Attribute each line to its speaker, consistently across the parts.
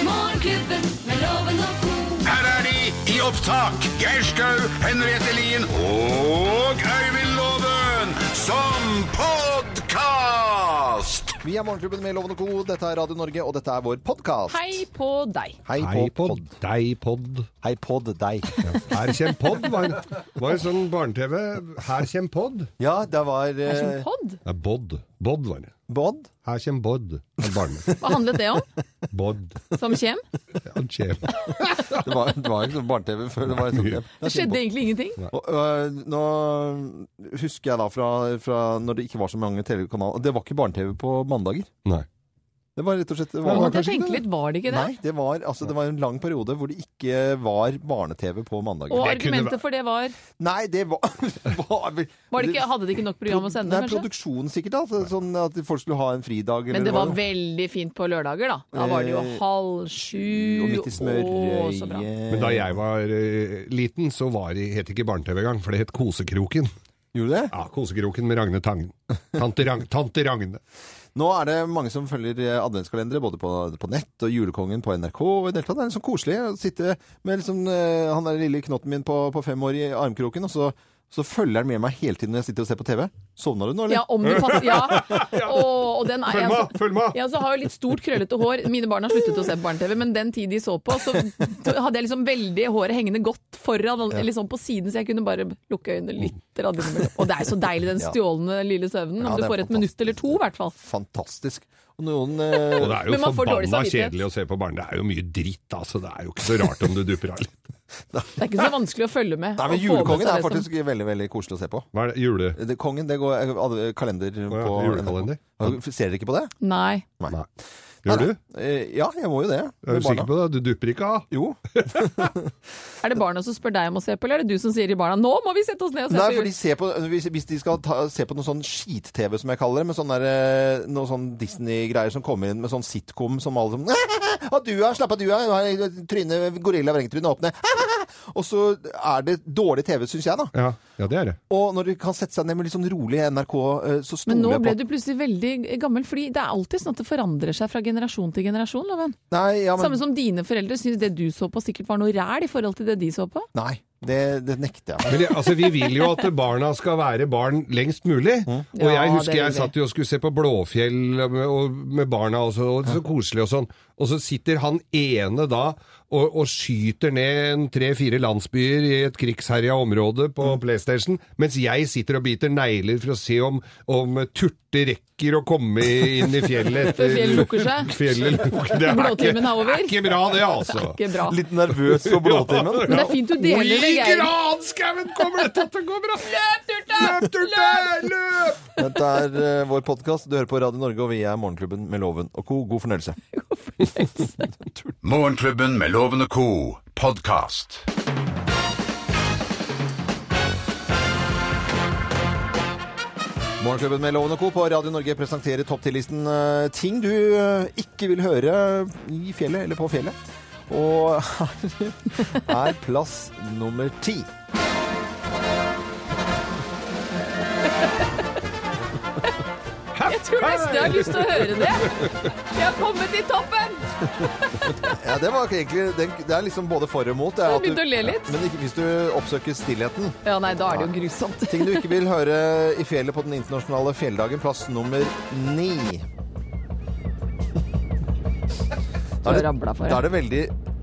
Speaker 1: Morgenklubben med loven og ko.
Speaker 2: Her er de i opptak. Geir Skau, Henriette Lien og Øyvind Loven som podkast!
Speaker 3: Vi er Morgenklubben med Loven og Co. Dette er Radio Norge, og dette er vår podkast.
Speaker 4: Hei på deg.
Speaker 3: Hei
Speaker 5: Hei
Speaker 3: på pod.
Speaker 5: pod, deg pod.
Speaker 3: Hei pod deg.
Speaker 5: Her kjem pod, var en, var en sånn barne-TV. Her kjem pod.
Speaker 3: Ja, det var
Speaker 4: Det er
Speaker 3: eh,
Speaker 4: som podd.
Speaker 5: Ja, bod. Bod var det.
Speaker 3: Bod.
Speaker 5: Her kjem bod. Er barne.
Speaker 4: Hva handlet det om?
Speaker 5: Bod.
Speaker 4: Som kjem?
Speaker 5: Ja, kjem.
Speaker 3: Det var, det var ikke sånn barne-TV før. Det var sånn,
Speaker 5: Nei.
Speaker 4: Det skjedde egentlig ingenting.
Speaker 3: Og, øh, nå husker jeg da fra, fra når det ikke var så mange TV-kanaler. og Det var ikke barne-TV på mandager.
Speaker 5: Nei.
Speaker 3: Det var rett og slett det
Speaker 5: Nei,
Speaker 4: Nå
Speaker 3: var,
Speaker 4: måtte jeg tenke litt, var det ikke det?
Speaker 3: Nei, det var, altså, det var en lang periode hvor det ikke var barne-TV på mandager.
Speaker 4: Og
Speaker 5: Det kunne vært-
Speaker 4: argumentet for det var,
Speaker 3: Nei, det var, var vel-
Speaker 4: var det ikke, Hadde de ikke nok program å sende,
Speaker 3: Nei,
Speaker 4: kanskje?
Speaker 3: produksjonen sikkert. Altså, sånn at folk skulle ha en fridag. eller
Speaker 4: Men det
Speaker 3: hva
Speaker 4: var veldig fint på lørdager, da. Da var det jo
Speaker 3: Eh,
Speaker 4: halv sju
Speaker 3: Og midt
Speaker 4: Å,
Speaker 3: i
Speaker 4: så bra.
Speaker 3: smørøyet.
Speaker 5: Men da jeg var eh, liten, så var det, het det ikke barne-TV engang, for det het Kosekroken.
Speaker 3: Gjorde det?
Speaker 5: Ja, Kosekroken med Ragne Tangen. Tante, Rag Tante Ragne.
Speaker 3: Nå er det mange som følger eh, adventskalendere både på, på nett og Julekongen på NRK. og i det hele tatt er det sånn koselig å sitte med liksom, eh, han der lille knotten min på, på fem år i armkroken, og så, så følger han med meg hele tiden når jeg sitter og ser på TV. Sovner du nå, eller?
Speaker 4: Ja, om du passer Ja. Og, og den er
Speaker 5: Følg med! Følg med!
Speaker 4: Jeg altså har jo litt stort, krøllete hår. Mine barn har sluttet å se på barne-TV, men den tid de så på, så hadde jeg liksom veldig håret hengende godt foran, eller sånn på siden, så jeg kunne bare lukke øynene litt. radd innimellom. Og det er så deilig, den
Speaker 3: Mm. Ja.
Speaker 4: stjålne lille søvnen.
Speaker 3: Ja,
Speaker 4: Om
Speaker 3: det
Speaker 4: du
Speaker 3: er
Speaker 4: får et
Speaker 3: fantastisk.
Speaker 4: minutt eller to, i hvert fall.
Speaker 3: Fantastisk. Og noen eh,
Speaker 5: Og det er jo
Speaker 4: Men man får dårlig
Speaker 5: forbanna
Speaker 4: samvittighet.
Speaker 5: kjedelig å se på barne. Det er jo mye dritt, altså. Det er jo ikke så rart om du dupper av litt.
Speaker 4: Det er ikke så vanskelig å følge med.
Speaker 3: Nei,
Speaker 4: og få
Speaker 3: men
Speaker 4: med
Speaker 3: Julekongen
Speaker 4: seg
Speaker 3: er
Speaker 4: det som-
Speaker 3: faktisk veldig veldig koselig å se på.
Speaker 5: Hva er det? Jule...
Speaker 3: Det, kongen, det går eh, ad- kalender på
Speaker 5: ja, julekalender.
Speaker 3: NRK. Ser dere ikke på det?
Speaker 4: Nei.
Speaker 5: Nei. Gjør du?
Speaker 3: Eh, Ja, jeg må jo det.
Speaker 5: Er
Speaker 3: med
Speaker 5: du
Speaker 3: barna.
Speaker 5: sikker på det? Du dupper ikke av?
Speaker 3: Jo.
Speaker 4: Er det barna som spør deg om å se på, eller er det du som sier til barna 'nå må vi sette oss ned og se
Speaker 3: Nei,
Speaker 4: på
Speaker 3: for de
Speaker 4: jul'?
Speaker 3: ser på, hvis, hvis de skal ta, se på noe sånn skit-TV, som jeg kaller det, med sånn der, eh, noe sånn Disney-greier som kommer inn med sånn sitcom som alle sånn Og du er, slapp av, du er, nå er trynet, gorilla vrengtrynet åpne. Og så er det dårlig TV, syns jeg, da.
Speaker 5: Ja. ja, det er det.
Speaker 3: Og når de kan sette seg ned med litt sånn rolig NRK, eh, så
Speaker 4: Men
Speaker 3: stoler
Speaker 4: nå
Speaker 3: jeg
Speaker 4: ble
Speaker 3: på
Speaker 4: du plutselig veldig gammel, fordi det er alltid sånn at det forandrer seg fra generasjon til generasjon, Loven.
Speaker 3: Nei, ja,
Speaker 4: Samme
Speaker 3: men,
Speaker 4: som dine foreldre syns det du så på sikkert var noe ræl i forhold til det de så på.
Speaker 3: nei det, det nekter jeg.
Speaker 5: Men det, altså, vi vil jo at barna skal være barn lengst mulig. Og
Speaker 4: Mm. Ja,
Speaker 5: jeg husker
Speaker 4: det vil
Speaker 5: jeg
Speaker 4: vi.
Speaker 5: satt jo og skulle se på Blåfjell med, og, med barna, og så, og så koselig og sånn. Og så sitter han ene da og, og skyter ned en tre-fire landsbyer i et krigsherja område
Speaker 4: Mm.
Speaker 5: på PlayStation, mens jeg sitter og biter negler for å se om, om Turte rekker å komme inn i fjellet etter
Speaker 4: Før fjellet lukker seg.
Speaker 5: Fjellet lukker. Det er ikke,
Speaker 4: Blåtimen er over.
Speaker 5: det er ikke bra, det, altså.
Speaker 4: Ikke bra.
Speaker 3: Litt nervøs for blåtimen.
Speaker 4: Men det er fint du deler det,
Speaker 5: Oi,
Speaker 4: Geir.
Speaker 5: granskauen, kommer dette til å gå bra?
Speaker 4: Løp, Turte!
Speaker 5: Løp, Turte! Løp!
Speaker 3: Dette er eh, vår podkast. Du hører på Radio Norge, og vi er Morgenklubben med Loven og co. God fornøyelse.
Speaker 2: Morgenklubben med Loven og Co. podkast.
Speaker 3: Morgenklubben med Loven og Co. på Radio Norge presenterer topp 10-listen eh, ting du eh, ikke vil høre i fjellet eller på fjellet. Og her er plass nummer ti.
Speaker 4: Jeg tror nesten jeg har lyst til å høre det. Jeg har kommet til toppen!
Speaker 3: Ja, det var egentlig den, Det er liksom både for og mot. det er
Speaker 4: Jeg
Speaker 3: at du-
Speaker 4: begynte å le litt.
Speaker 3: Ja, men ikke, hvis du oppsøker stillheten.
Speaker 4: Ja, nei, da er det jo grusomt.
Speaker 3: Ting du ikke vil høre i fjellet på den internasjonale fjelldagen, plass nummer ni. Da er det,
Speaker 4: ramla for, ja.
Speaker 3: da er det veldig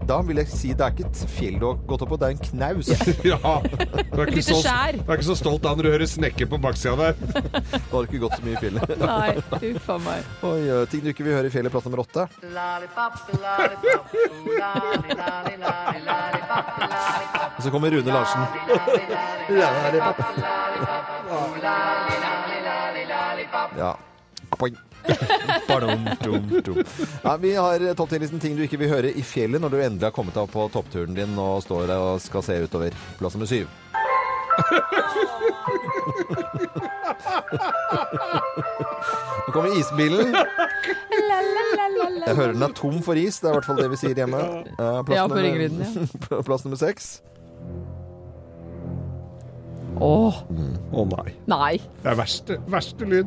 Speaker 3: Da vil jeg si det er ikke et fjell du har gått opp på, det er en knaus.
Speaker 5: Ja, du
Speaker 4: lite
Speaker 5: er, ikke så,
Speaker 4: skjær.
Speaker 5: du er ikke så stolt av når du hører snekker på baksida der.
Speaker 3: Da har du ikke gått så mye i fjellet.
Speaker 4: Nei, uff a meg.
Speaker 3: Oi, ø, ting du ikke vil høre i fjellet, plass nummer åtte.
Speaker 6: Lollipop, lollipop, lolly, lolly, lolly, lollipop, lollipop,
Speaker 3: Og så kommer Rune Larsen. Ja. Poing. Badum, dum, dum. Ja, vi har topp 10-listen ting du ikke vil høre i fjellet når du endelig har kommet deg opp på toppturen din og står der og skal se utover. Plass nummer syv. Nå kommer isbilen. Jeg hører den er tom for is. Det er i hvert fall det vi sier hjemme. Eh, Plass,
Speaker 4: Ja, på Ringlyden,
Speaker 3: nummer, plass nummer seks.
Speaker 4: Åh,
Speaker 5: Å nei.
Speaker 4: nei.
Speaker 5: Det er verste, verste lyd.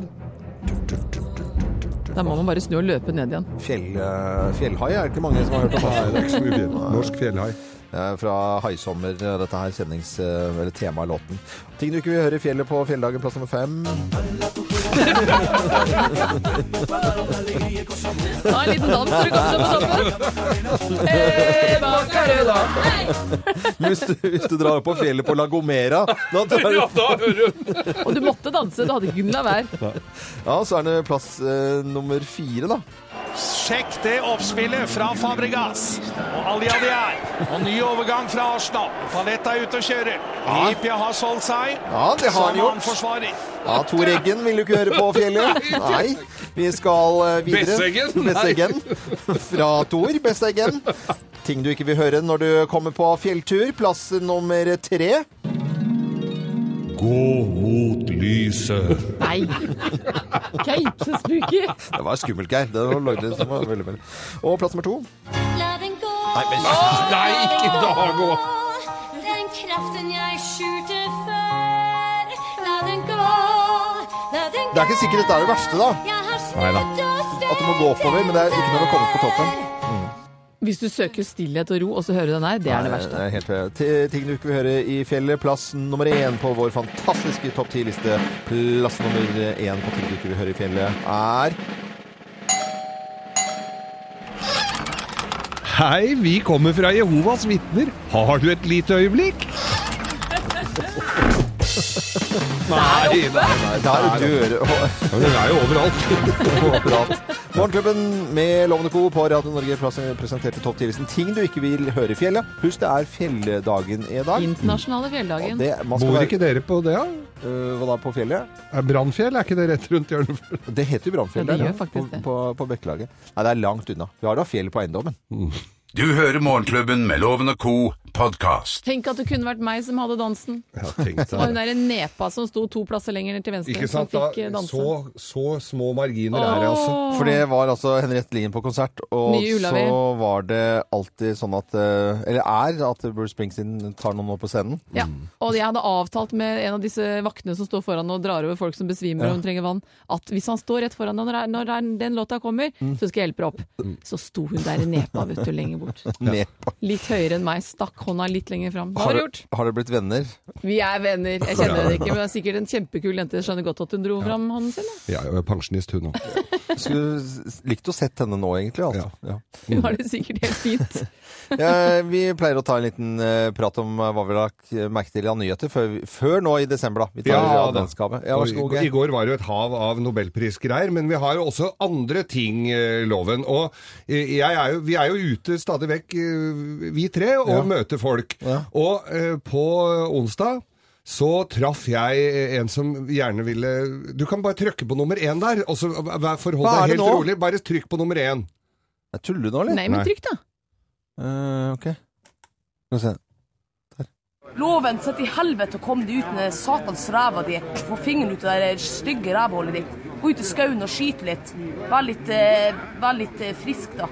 Speaker 3: Du, du, du, du, du, du, du.
Speaker 4: Da må man bare snu og løpe ned igjen.
Speaker 3: Fjell, eh, fjellhai er det ikke mange som har hørt om.
Speaker 5: Nei, det er ikke så mye fjell. Norsk fjellhai.
Speaker 3: Eh, fra Haisommer, eh, dette her sendings... eh, Eller temalåten. Ting du ikke vil høre i fjellet på Fjelldagen, plass nummer fem.
Speaker 4: Ta en liten dans når du kommer deg på toppen. Hey, hva kan du da?
Speaker 3: Hvis du, hvis du drar på fjellet på La Gomera, da drar du
Speaker 5: Ja, da hører du!
Speaker 4: Og du måtte danse, du hadde ikke kunnet la være.
Speaker 3: Ja, så er det plass eh, nummer fire, da.
Speaker 7: Sjekk det oppspillet fra Fabregas. Og Aljavier. Og ny overgang fra Arsenal. Paletta er ute og kjører. Lipia har solgt seg.
Speaker 3: Ja, det har han
Speaker 7: som
Speaker 3: gjort.
Speaker 7: forsvarer.
Speaker 3: Ja, Tor Eggen vil du ikke høre på fjellet. Nei. Vi skal eh, videre.
Speaker 5: Besseggen? Nei.
Speaker 3: Besseggen. Fra Tor Besseggen. Ting du ikke vil høre når du kommer på fjelltur. Plass nummer tre.
Speaker 5: Gå mot lyset.
Speaker 4: Nei. Keitespooky.
Speaker 3: Det var skummelt, Geir. Det var lagd som var veldig, veldig. Og plass nummer to.
Speaker 1: La den gå.
Speaker 3: Nei, men
Speaker 5: Nei, ikke i dag òg!
Speaker 1: Den kraften jeg skjulte før. La den gå. La den gå.
Speaker 3: Det er ikke sikkert dette er det verste, da.
Speaker 1: Jeg har
Speaker 5: Neida.
Speaker 1: snudd og snudd
Speaker 3: At du må gå oppover, men det er ikke når du kommer på toppen.
Speaker 4: Hvis du søker stillhet og ro, og så hører du den her, det er det verste.
Speaker 3: Nei, helt feil. Ti- Ting du ikke vil høre i fjellet. Plass nummer én på vår fantastiske topp ti-liste. Plass nummer én på ting du ikke vil høre i fjellet er
Speaker 5: Hei, vi kommer fra Jehovas vitner. Har du et lite øyeblikk? Nei, nei, nei.
Speaker 3: Der dør
Speaker 5: Men Den er jo overalt.
Speaker 3: Overalt. Morgenklubben med Lovende Co. på Radio Norge pres- presenterte topp 10-listen ting du ikke vil høre i fjellet. Husk det er fjelldagen i dag.
Speaker 4: Internasjonale fjelldagen.
Speaker 3: Det, man skal
Speaker 5: Bor
Speaker 3: være-
Speaker 5: ikke dere på det, da?
Speaker 3: Øh, hva da, på fjellet?
Speaker 5: Er Brannfjell, er ikke det rett rundt hjørnet?
Speaker 3: Det heter jo Brannfjell
Speaker 4: Ja, det
Speaker 3: der,
Speaker 4: gjør faktisk
Speaker 3: på,
Speaker 4: det.
Speaker 3: på, på Bekkelaget. Nei, det er langt unna. Vi har da fjell på eiendommen.
Speaker 2: Du hører Morgenklubben med Loven og Co. podkast.
Speaker 4: Tenk at det kunne vært meg som hadde dansen.
Speaker 5: Ja, tenk
Speaker 4: Og hun derre nepa som sto to plasser lenger ned til venstre,
Speaker 5: Ikke
Speaker 4: som
Speaker 5: sant? Da,
Speaker 4: fikk eh, danse.
Speaker 5: så, så små marginer er det, altså.
Speaker 3: For det var altså Henriette Lien på konsert, og
Speaker 4: Nye Ullavi.
Speaker 3: så var det alltid sånn at øh, Eller er at Bruce Springsteen tar noen nå på scenen.
Speaker 4: Ja, og jeg hadde avtalt med en av disse vaktene som står foran og drar over folk som besvimer og hun trenger vann, at hvis han står rett foran deg når, når den låta kommer, så skal jeg hjelpe deg opp. Så sto hun der i nepa, vet du, lenger bort.
Speaker 3: Med,
Speaker 4: Litt høyere enn meg, stakk hånda litt lenger fram. Hva har
Speaker 3: har,
Speaker 4: du
Speaker 3: det-
Speaker 4: gjort?
Speaker 3: har det blitt venner?
Speaker 4: Vi er venner. Jeg kjenner henne ikke, men hun er sikkert en kjempekul jente. Jeg skjønner godt at hun dro fram hånden sin. da.
Speaker 5: Jeg er jo pensjonist, hun òg.
Speaker 3: Skulle s- likt å sett henne nå, egentlig. Altså. Ja.
Speaker 4: Hun har det sikkert helt fint.
Speaker 3: Eh, vi pleier å ta en liten eh, prat om eh, hva vi har lagt eh, merke til av nyheter før, før nå i desember. da. Vi tar ja,
Speaker 5: Ja, da.
Speaker 3: adventsgave. Ja, vær så god,
Speaker 5: Og I i
Speaker 3: Geir.
Speaker 5: går var det jo et hav av nobelprisgreier, men vi har jo også andre ting, eh, Loven. Og eh, jeg er jo, vi er jo ute stadig vekk, eh, vi tre, og møter folk. Og eh, på onsdag så traff jeg eh, en som gjerne ville Du kan bare trykke på nummer én der, og så vær- forhold
Speaker 3: Hva er
Speaker 5: deg
Speaker 3: det
Speaker 5: helt
Speaker 3: nå?
Speaker 5: rolig. Bare trykk på nummer én.
Speaker 3: Jeg Eh, Tuller du nå, eller?
Speaker 4: Nei, men
Speaker 5: Nei.
Speaker 4: trykk, da.
Speaker 3: Eh, ok. Skal vi se.
Speaker 8: Loven, sett i helvete og kom deg ut med satans ræva di. Få fingeren ut av det der stygge rævhullet ditt. Gå ut i skauen og skyt litt. Vær litt, eh, vær litt eh, frisk, da.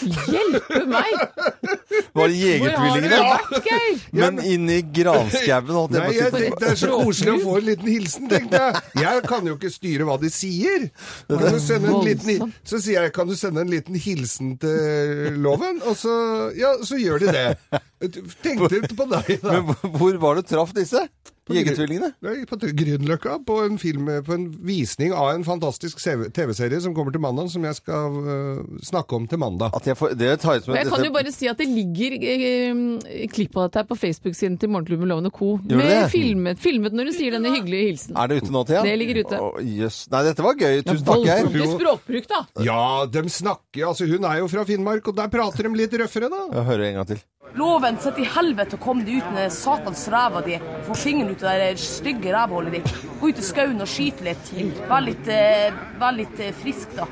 Speaker 4: Hjelpe meg!
Speaker 3: Var det
Speaker 4: Hvor har du
Speaker 3: Jegertvillingene?
Speaker 4: vært, Geir?
Speaker 3: Men inni granskauen og alt det
Speaker 5: Nei, jeg
Speaker 3: bare-
Speaker 5: tenkte Det er så koselig å få en liten hilsen, tenkte jeg. Jeg kan jo ikke styre hva de sier. Kan du sende en liten, så sier jeg kan du sende en liten hilsen til loven, og så, ja, så gjør de det. Tenkte på deg, da.
Speaker 3: Men hvor- hvor var det du traff disse? Jegertvillingene?
Speaker 5: Nei, På Grünerløkka, på en film, på en visning av en fantastisk CV TV-serie som kommer til mandag, som jeg skal øh, snakke om til mandag.
Speaker 3: At jeg får, det tar jeg som
Speaker 4: Og jeg kan jo
Speaker 3: dette-
Speaker 4: bare si at det ligger eh, klipp av dette her på Facebook-siden til Morgenklubben med Loven og Co.
Speaker 3: Gjør
Speaker 4: Med
Speaker 3: det?
Speaker 4: filmet, filmet når hun sier denne hyggelige hilsen.
Speaker 3: Er det ute nå, Thea?
Speaker 4: Det ligger ute.
Speaker 3: Å, jøss. Nei, dette var gøy. Tusen takk,
Speaker 4: Voldsomt
Speaker 3: Geir.
Speaker 4: i språkbruk, da!
Speaker 5: Ja, de snakker Altså, hun er jo fra Finnmark, og der prater de litt røffere, da.
Speaker 3: Jeg hører en gang til.
Speaker 8: Loven, sett i helvete og kom deg ut med satans ræva di. Få fingeren ut av det der stygge rævhullet ditt. Gå ut i skauen og skyt litt. Vær litt, eh, vær litt eh, frisk, da.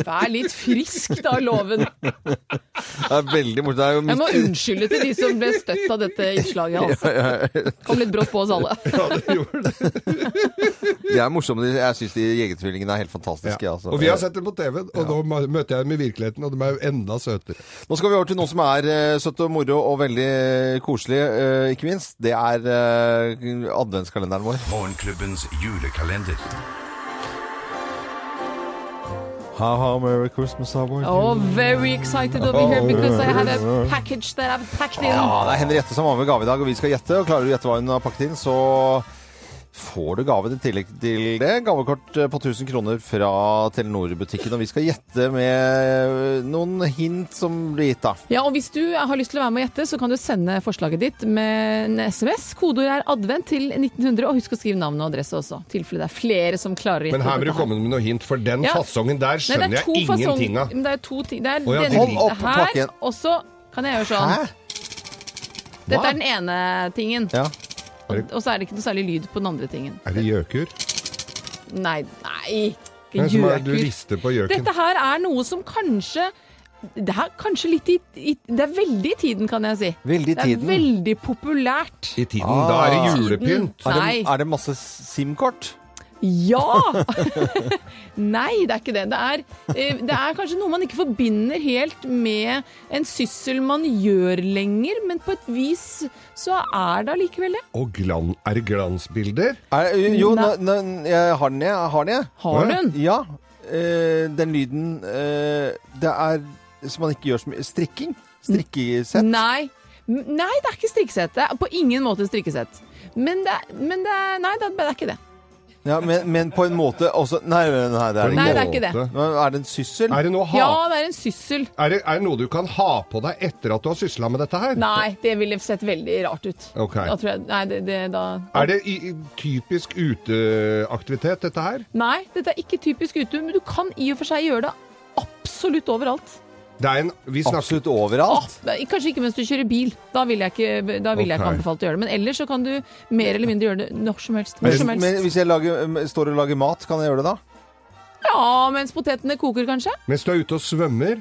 Speaker 4: Vær litt frisk, da, Loven.
Speaker 3: Det er veldig morsomt. Det er jo
Speaker 4: Jeg må
Speaker 3: midt
Speaker 4: unnskylde til de som ble støtt av dette innslaget. Altså. Kom litt brått på oss alle.
Speaker 5: Ja, det gjorde det.
Speaker 3: De er morsomme. de- Jeg syns de Jegertvillingene er helt fantastiske.
Speaker 5: Ja.
Speaker 3: Altså.
Speaker 5: Og vi har sett det på TV, og nå møter jeg dem i virkeligheten, og de er jo enda søtere.
Speaker 3: Nå skal vi over til noe som er eh, søtt og moro og veldig eh, koselig, eh, ikke minst. Det er eh, adventskalenderen vår.
Speaker 2: Morgenklubbens julekalender.
Speaker 3: Ha-ha, merry Christmas, how are you?
Speaker 4: Oh, very excited over
Speaker 5: Oh,
Speaker 4: here because I have a package that I've packed in.
Speaker 3: Ja, det er Henriette som har med gave i dag, og vi skal gjette. Og klarer du å gjette hva hun har pakket inn, så får du gaven i tillegg til det. Gavekort eh, på 1000 kroner fra Telenor-butikken. Og vi skal gjette med noen hint som blir gitt, da.
Speaker 4: Ja, og hvis du har lyst til å være med og gjette, så kan du sende forslaget ditt med en SMS. Kodeord er advent til 1900, og husk å skrive navn og adresse også. I tilfelle det er flere som klarer å gjette.
Speaker 5: Men her må du
Speaker 4: dette
Speaker 5: komme med noe hint, for den
Speaker 4: Ja.
Speaker 5: fasongen der
Speaker 4: Nei,
Speaker 5: skjønner
Speaker 4: det er to
Speaker 5: jeg ingenting
Speaker 4: fasong-
Speaker 5: av.
Speaker 4: Men Det er to ting. Det er
Speaker 5: Å, ja,
Speaker 4: denne
Speaker 5: hold
Speaker 4: biten
Speaker 3: opp, pakk
Speaker 4: her,
Speaker 3: igjen.
Speaker 4: og så kan jeg gjøre sånn.
Speaker 3: Hæ?
Speaker 4: Dette er den ene tingen.
Speaker 3: Ja.
Speaker 4: Og så er det ikke noe særlig lyd på den andre tingen.
Speaker 5: Er det gjøkur?
Speaker 4: Nei, nei.
Speaker 5: Hvem
Speaker 4: Ikke
Speaker 5: som er det Du
Speaker 4: gjøkur.
Speaker 5: rister på gjøken.
Speaker 4: Dette her er noe som kanskje det er kanskje litt i, i Det er veldig i tiden, kan jeg si.
Speaker 3: Veldig i
Speaker 4: det er
Speaker 3: tiden.
Speaker 4: veldig populært.
Speaker 5: I tiden, da
Speaker 4: Ah.
Speaker 5: er det julepynt.
Speaker 3: Er det,
Speaker 4: Nei.
Speaker 3: er det masse SIM-kort?
Speaker 4: Ja! Nei, det er ikke det. Det er, eh, det er kanskje noe man ikke forbinder helt med en syssel man gjør lenger, men på et vis så er det allikevel det.
Speaker 5: Og glan, er det glansbilder?
Speaker 3: Er det, jo,
Speaker 4: Nei.
Speaker 3: nå- nå- jeg har den, jeg. jeg Har den, jeg.
Speaker 4: Har du den?
Speaker 3: Ja. eh, den lyden eh, Det er som man ikke gjør så mye Strikking? Strikkesett?
Speaker 4: Nei. M- Nei, det er ikke strikkesett. Det er på ingen måte strikkesett. Men det, er- men det er Nei, det er- det er ikke det.
Speaker 3: Ja, men, men på en måte også Nei, nei det er det
Speaker 4: Nei,
Speaker 3: ikke.
Speaker 4: det er ikke det.
Speaker 5: Måte.
Speaker 3: Nå Er det en syssel?
Speaker 5: Er det noe, ha,
Speaker 4: Ja, det er en syssel.
Speaker 5: er det, er det noe du kan ha på deg etter at du har sysla med dette her?
Speaker 4: Nei, det ville sett veldig rart ut.
Speaker 5: Ok.
Speaker 4: Da tror jeg Nei, det, det da
Speaker 5: Er det i, i typisk uteaktivitet, dette her?
Speaker 4: Nei, dette er ikke typisk utum, men du kan i og for seg gjøre det absolutt overalt.
Speaker 5: Det er en, vi snakker
Speaker 3: Absolutt overalt.
Speaker 4: Nei, Kanskje ikke mens du kjører bil. Da ville jeg ikke, da ville jeg ikke
Speaker 5: Ok.
Speaker 4: anbefalt å gjøre det. Men ellers så kan du mer eller mindre gjøre det når som helst. Hvor
Speaker 3: Hvis,
Speaker 4: som
Speaker 3: men
Speaker 4: helst.
Speaker 3: hvis jeg lager, m- står og lager mat, kan jeg gjøre det da?
Speaker 4: Ja, mens potetene koker, kanskje?
Speaker 5: mens du er ute og svømmer.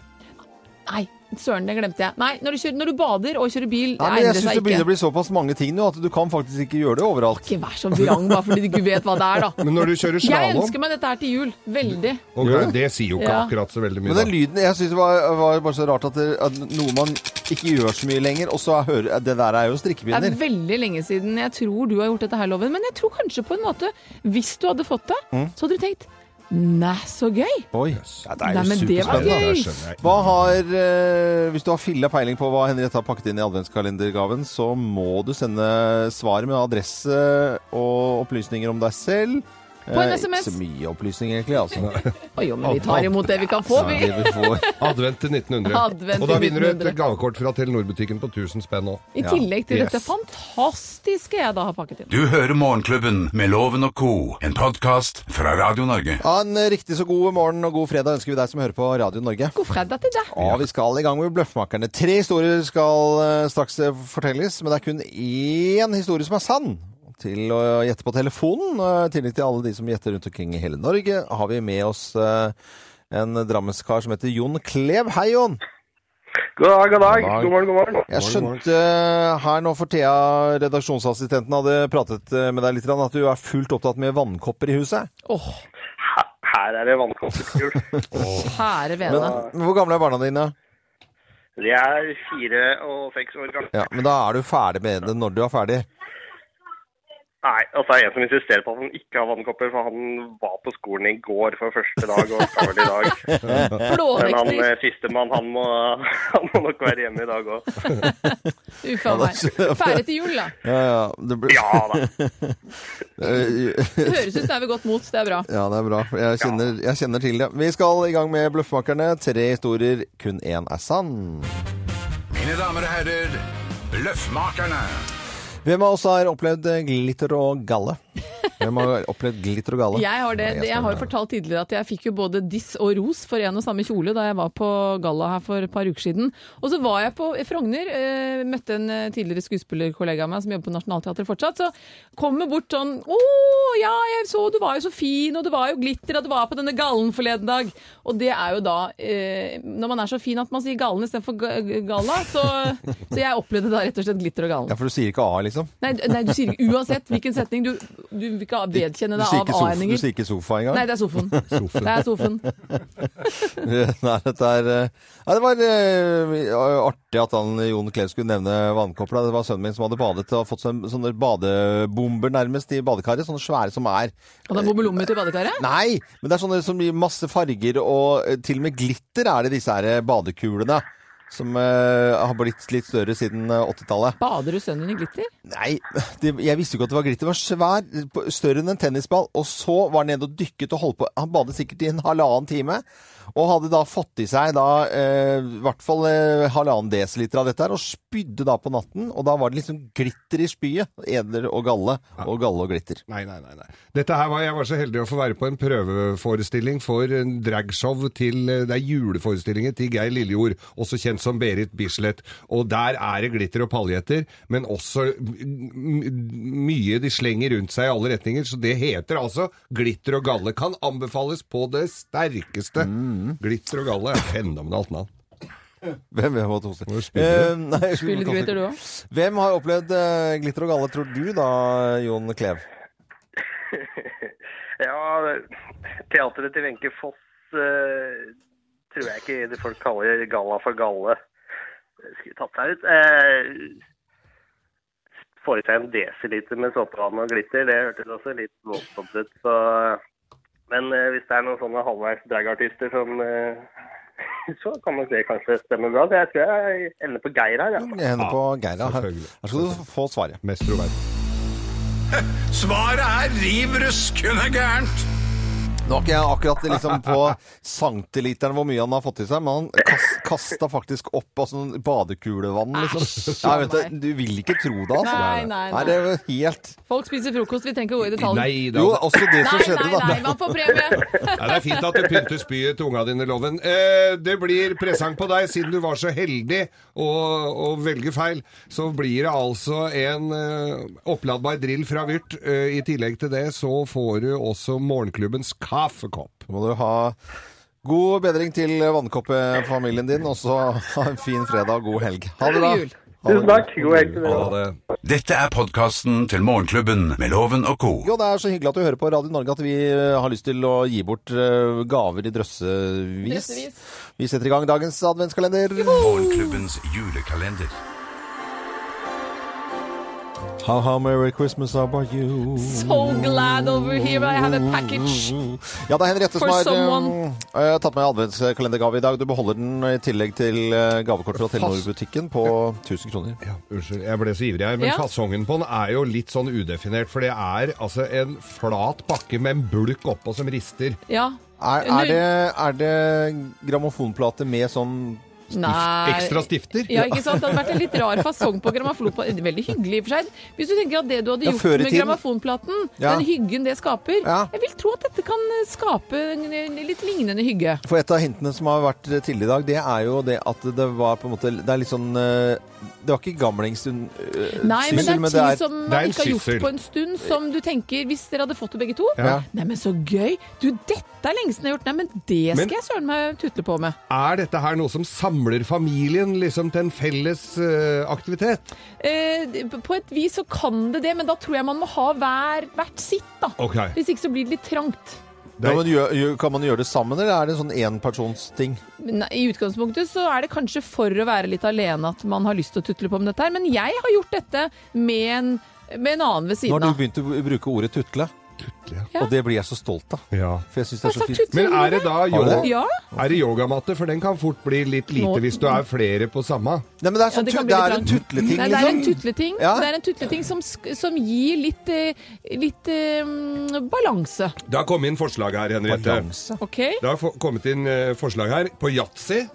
Speaker 4: Nei, søren, det glemte jeg. Nei, når du, kjører, når du bader og kjører bil,
Speaker 3: Nei,
Speaker 4: det
Speaker 3: men jeg
Speaker 4: egner
Speaker 3: syns
Speaker 4: seg
Speaker 3: det begynner å
Speaker 4: ikke.
Speaker 3: bli såpass mange ting nå at du kan faktisk ikke gjøre det overalt.
Speaker 4: Ikke vær så vrang bare fordi du ikke vet hva det er, da.
Speaker 5: Men når du kjører
Speaker 4: Jeg
Speaker 5: slalåm
Speaker 4: ønsker meg dette her til jul. Veldig.
Speaker 5: Ok, Det sier jo ikke
Speaker 4: Ja.
Speaker 5: akkurat så veldig mye.
Speaker 3: Men den
Speaker 5: da.
Speaker 3: lyden Jeg syns det var, var bare så rart at, det, at noe man ikke gjør så mye lenger, og så hører Det der er jo
Speaker 4: Det
Speaker 3: strikkepinner.
Speaker 4: er veldig lenge siden jeg tror du har gjort dette her, Loven. Men jeg tror kanskje på en måte, hvis du hadde fått det, så hadde du tenkt Nei, så gøy!
Speaker 3: Oi. Ja, det
Speaker 4: Nei, men det var
Speaker 3: altså.
Speaker 5: Ja,
Speaker 4: gøy!
Speaker 5: det skjønner jeg.
Speaker 3: Hva har, eh, Hvis du har filla peiling på hva Henriette har pakket inn i adventskalendergaven, så må du sende svar med adresse og opplysninger om deg selv.
Speaker 4: På en
Speaker 3: Eh,
Speaker 4: SMS.
Speaker 3: Ikke så mye opplysning, egentlig. altså.
Speaker 4: Å jo, men vi tar imot det vi kan få, vi.
Speaker 3: Det vi får.
Speaker 5: Advent til 1900.
Speaker 4: Advent
Speaker 5: og da
Speaker 4: til
Speaker 5: vinner du et
Speaker 4: 1900.
Speaker 5: gavekort fra Telenor-butikken på 1000 spenn nå.
Speaker 4: I tillegg til
Speaker 5: Yes.
Speaker 4: dette fantastiske jeg da har pakket inn.
Speaker 2: Du hører Morgenklubben med Loven og co., en podkast fra Radio Norge.
Speaker 3: Ha en riktig så god morgen og god fredag ønsker vi deg som hører på Radio Norge.
Speaker 4: God fredag til deg.
Speaker 3: Og vi skal i gang med Bløffmakerne. Tre historier skal eh, straks eh, fortelles, men det er kun én historie som er sann. Til å gjette på telefonen, eh, i tillegg til alle de som gjetter rundt omkring i hele Norge, har vi med oss eh, en drammenskar som heter Jon Klev. Hei, Jon!
Speaker 9: God dag, god dag. God morgen, god morgen.
Speaker 3: Jeg skjønte eh, her nå for Thea, redaksjonsassistenten, hadde pratet eh, med deg litt, grann, at du er fullt opptatt med vannkopper i huset.
Speaker 4: Åh,
Speaker 9: Her- Her er det vannkopperskjul.
Speaker 4: kjære vene.
Speaker 3: Men hvor gamle er barna dine?
Speaker 9: De er fire og seks år gamle.
Speaker 3: Ja, Men da er du ferdig med det når du er ferdig.
Speaker 9: Nei, og så er det en som insisterer på at han ikke har vannkopper, for han var på skolen i går for første dag og skal vel i dag. Men han
Speaker 4: Blåvekter.
Speaker 9: eh, sistemann, han, må- han må nok være hjemme i dag òg.
Speaker 4: Uff a meg. Ferdig til jul, da.
Speaker 3: Ja, ja. Det blir...
Speaker 9: Ja da.
Speaker 4: Det høres ut som det er ved godt mot. Det er bra.
Speaker 3: Ja, det er bra. Jeg kjenner, jeg kjenner til det. Vi skal i gang med Bløffmakerne. Tre historier, kun én er sann.
Speaker 2: Mine damer og herrer, Løffmakerne.
Speaker 3: Hvem av oss har opplevd glitter og galle? Hvem har opplevd glitter og galle?
Speaker 4: Jeg har, det, det- jeg har jo fortalt tidligere at jeg fikk jo både diss og ros for en og samme kjole da jeg var på galla her for et par uker siden. Og så var jeg på Frogner, eh, møtte en eh, tidligere skuespillerkollega av meg som jobber på Nationaltheatret fortsatt, så kommer bort sånn Å ja, jeg så du var jo så fin, og det var jo glitter, og du var på denne gallen forleden dag. Og det er jo da eh, Når man er så fin at man sier gallen istedenfor ga- galla, så, så jeg opplevde da rett og slett glitter og gallen.
Speaker 3: Ja, for du sier ikke A, liksom?
Speaker 4: Nei, d- nei, du sier uansett hvilken setning. Du, du ikke vedkjenne
Speaker 3: Du
Speaker 4: deg
Speaker 3: sier
Speaker 4: av
Speaker 3: ikke sofa- Du
Speaker 4: A-endinger.
Speaker 3: sier ikke sofa engang?
Speaker 4: Nei, det er sofaen.
Speaker 5: Sofaen.
Speaker 4: Det er sofaen.
Speaker 3: Nei, dette er eh, Nei, det var eh, artig at han Jon Klev skulle nevne vannkopla. Det var sønnen min som hadde badet og fått sånne, sånne badebomber nærmest i badekaret. Sånne svære som er
Speaker 4: Han har bobbelommer til badekaret.
Speaker 3: Nei, men det er sånne som gir masse farger, og eh, til og med glitter er det disse her eh, badekulene. Som eh, har blitt litt større siden eh, 80-tallet.
Speaker 4: Bader du sønnen din i glitter?
Speaker 3: Nei, det, jeg visste jo ikke at det var glitter. Det var svær, på- større enn en tennisball. Og så var han nede og dykket og holdt på. Han badet sikkert i en halvannen time. Og hadde da fått i seg da eh, i hvert fall eh, halvannen desiliter av dette her, og spydde da på natten. Og da var det liksom glitter i spyet. Edler og galle. Og galle og glitter.
Speaker 5: Nei, nei, nei. nei. Dette her var, jeg var så heldig å få være på en prøveforestilling for en dragshow til eh, Det er juleforestillinger til Geir Lillejord, også kjent som Berit Bislett. Og der er det glitter og paljetter, men også m- m- mye de slenger rundt seg i alle retninger. Så det heter altså Glitter og galle. Kan anbefales på det sterkeste. Glitter og galle er et fenomenalt navn.
Speaker 3: Hvem, hvem måtte hoste?
Speaker 5: Må du spille det?
Speaker 3: Eh, nei,
Speaker 4: Spille litt glitter, du òg?
Speaker 3: Hvem har opplevd eh, glitter og galle, tror du da, Jon Klev?
Speaker 9: Ja, teateret til Wenche Foss eh, tror jeg ikke det folk kaller galla for galle. Skulle tatt seg ut. Eh, Får i seg en desiliter med såpevann og glitter, det hørtes også litt voldsomt ut. Så. Men eh, hvis det er noen sånne halvveis dragartister som eh, Så kan nok det kanskje stemme bra. Så jeg tror jeg ender på Geir her, ja.
Speaker 3: Jeg hender på Geira. Her
Speaker 5: selvfølgelig.
Speaker 3: her skal du få svaret.
Speaker 5: Mest troverdig.
Speaker 2: Svaret er riv ruskende gærent.
Speaker 3: Nå er ikke jeg akkurat liksom på centiliteren hvor mye han har fått i seg, men han kas kasta faktisk opp av sånn badekulevann, liksom. Ja, vet du, du vil ikke tro det, altså.
Speaker 4: Nei, nei,
Speaker 3: nei.
Speaker 4: nei.
Speaker 3: Det er jo helt
Speaker 4: Folk spiser frokost, vi trenger ikke gå i detalj.
Speaker 5: Nei da.
Speaker 3: Jo, også det som
Speaker 4: nei,
Speaker 3: skjedde,
Speaker 4: nei,
Speaker 3: da.
Speaker 4: nei, man får premie!
Speaker 5: Ja, det er fint at det pynter spyet til unga dine, Loven. Eh, det blir presang på deg, siden du var så heldig å, å velge feil. Så blir det altså en eh, oppladbar drill fra Vyrt. Eh, I tillegg til det så får du også morgenklubbens kaffekopp.
Speaker 3: Så må du ha god bedring til vannkoppefamilien din, og så ha en fin fredag og god helg. Ha det, da.
Speaker 4: God jul.
Speaker 3: Ha det
Speaker 9: Tusen takk. God helg til dere.
Speaker 5: Ha det.
Speaker 2: Dette er podkasten til Morgenklubben med Loven og co.
Speaker 3: Jo, det er så hyggelig at du hører på Radio Norge at vi eh, har lyst til å gi bort eh, gaver i drøssevis.
Speaker 4: Drøssevis.
Speaker 3: Vi setter i gang dagens adventskalender.
Speaker 2: Morgenklubbens julekalender.
Speaker 3: How, how merry Christmas about you.
Speaker 4: So glad over here, I have a package.
Speaker 3: Ja, det er Henriette som
Speaker 4: For
Speaker 3: har
Speaker 4: someone.
Speaker 3: eh, tatt med adventskalendergave i dag. Du beholder den i tillegg til eh, gavekort fra Telenor-butikken på 1000 kroner.
Speaker 5: Ja, unnskyld, jeg ble så ivrig her, men
Speaker 4: Ja.
Speaker 5: fasongen på den er jo litt sånn udefinert. For det er altså en flat bakke med en bulk oppå som rister.
Speaker 4: Ja.
Speaker 3: Er, er, det, er det grammofonplate med sånn
Speaker 4: Nei.
Speaker 5: Ekstra stifter.
Speaker 4: Ja, ikke sant? Det hadde vært en litt rar fasong på grammofonplaten. Veldig hyggelig i og for seg. Hvis du tenker at det du hadde
Speaker 3: Ja,
Speaker 4: gjort
Speaker 3: før i
Speaker 4: med
Speaker 3: tiden.
Speaker 4: grammofonplaten,
Speaker 3: Ja.
Speaker 4: den hyggen det skaper
Speaker 3: Ja.
Speaker 4: Jeg vil tro at dette kan eh, skape en en litt lignende hygge.
Speaker 3: For et av hintene som har vært eh, tidligere i dag, det er jo det at det var på en måte Det er litt sånn eh, Det var ikke gamlingstund eh,
Speaker 4: Nei, men det
Speaker 3: syssel,
Speaker 4: er ting som
Speaker 5: det er
Speaker 4: man
Speaker 5: en
Speaker 4: ikke har
Speaker 5: syssel.
Speaker 4: gjort på en stund, som du tenker Hvis dere hadde fått det begge to
Speaker 5: Ja.
Speaker 4: Nei, men så gøy! Du, dette er lenge siden jeg har gjort. Nei, men det skal
Speaker 5: Men-
Speaker 4: jeg søren meg tutle på med.
Speaker 5: Er dette her noe som samler familien liksom til en felles eh, aktivitet?
Speaker 4: Eh, d- på et vis så kan det det, men da tror jeg man må ha hver, hvert sitt, da.
Speaker 5: Ok.
Speaker 4: Hvis ikke så blir det litt trangt.
Speaker 3: Ja, men gjør, gjør, kan man gjøre det sammen, eller er det en sånn enpersonsting?
Speaker 4: Men I utgangspunktet så er det kanskje for å være litt alene at man har lyst til å tutle på med dette her, men jeg har gjort dette med en, med en annen ved
Speaker 3: Nå har
Speaker 4: siden
Speaker 3: du
Speaker 4: av.
Speaker 3: begynt å b- bruke ordet tutle,
Speaker 4: Ja.
Speaker 3: og det blir jeg så stolt av.
Speaker 5: Ja.
Speaker 3: For jeg syns det
Speaker 4: Hva
Speaker 3: er så
Speaker 4: slags
Speaker 3: fint.
Speaker 4: tutle
Speaker 5: Men er det da
Speaker 3: det?
Speaker 5: yoga,
Speaker 4: Ja.
Speaker 5: er det yogamatte? For den kan fort bli litt lite
Speaker 4: Nå-
Speaker 5: hvis du er flere på samme.
Speaker 3: Nei, men det er,
Speaker 4: Ja,
Speaker 3: sånn,
Speaker 4: det
Speaker 3: tu-
Speaker 4: kan bli litt
Speaker 3: det er en
Speaker 4: langt.
Speaker 3: tutleting,
Speaker 4: Nei, det er en
Speaker 3: liksom.
Speaker 4: tutleting,
Speaker 3: Ja.
Speaker 4: det er en tutleting som, sk- som gir litt, eh, litt eh, mm, balanse.
Speaker 5: Det har kommet inn forslag her, Henriette.
Speaker 3: Balanse.
Speaker 4: OK?
Speaker 5: Det har få- kommet inn eh, forslag her på yatzy.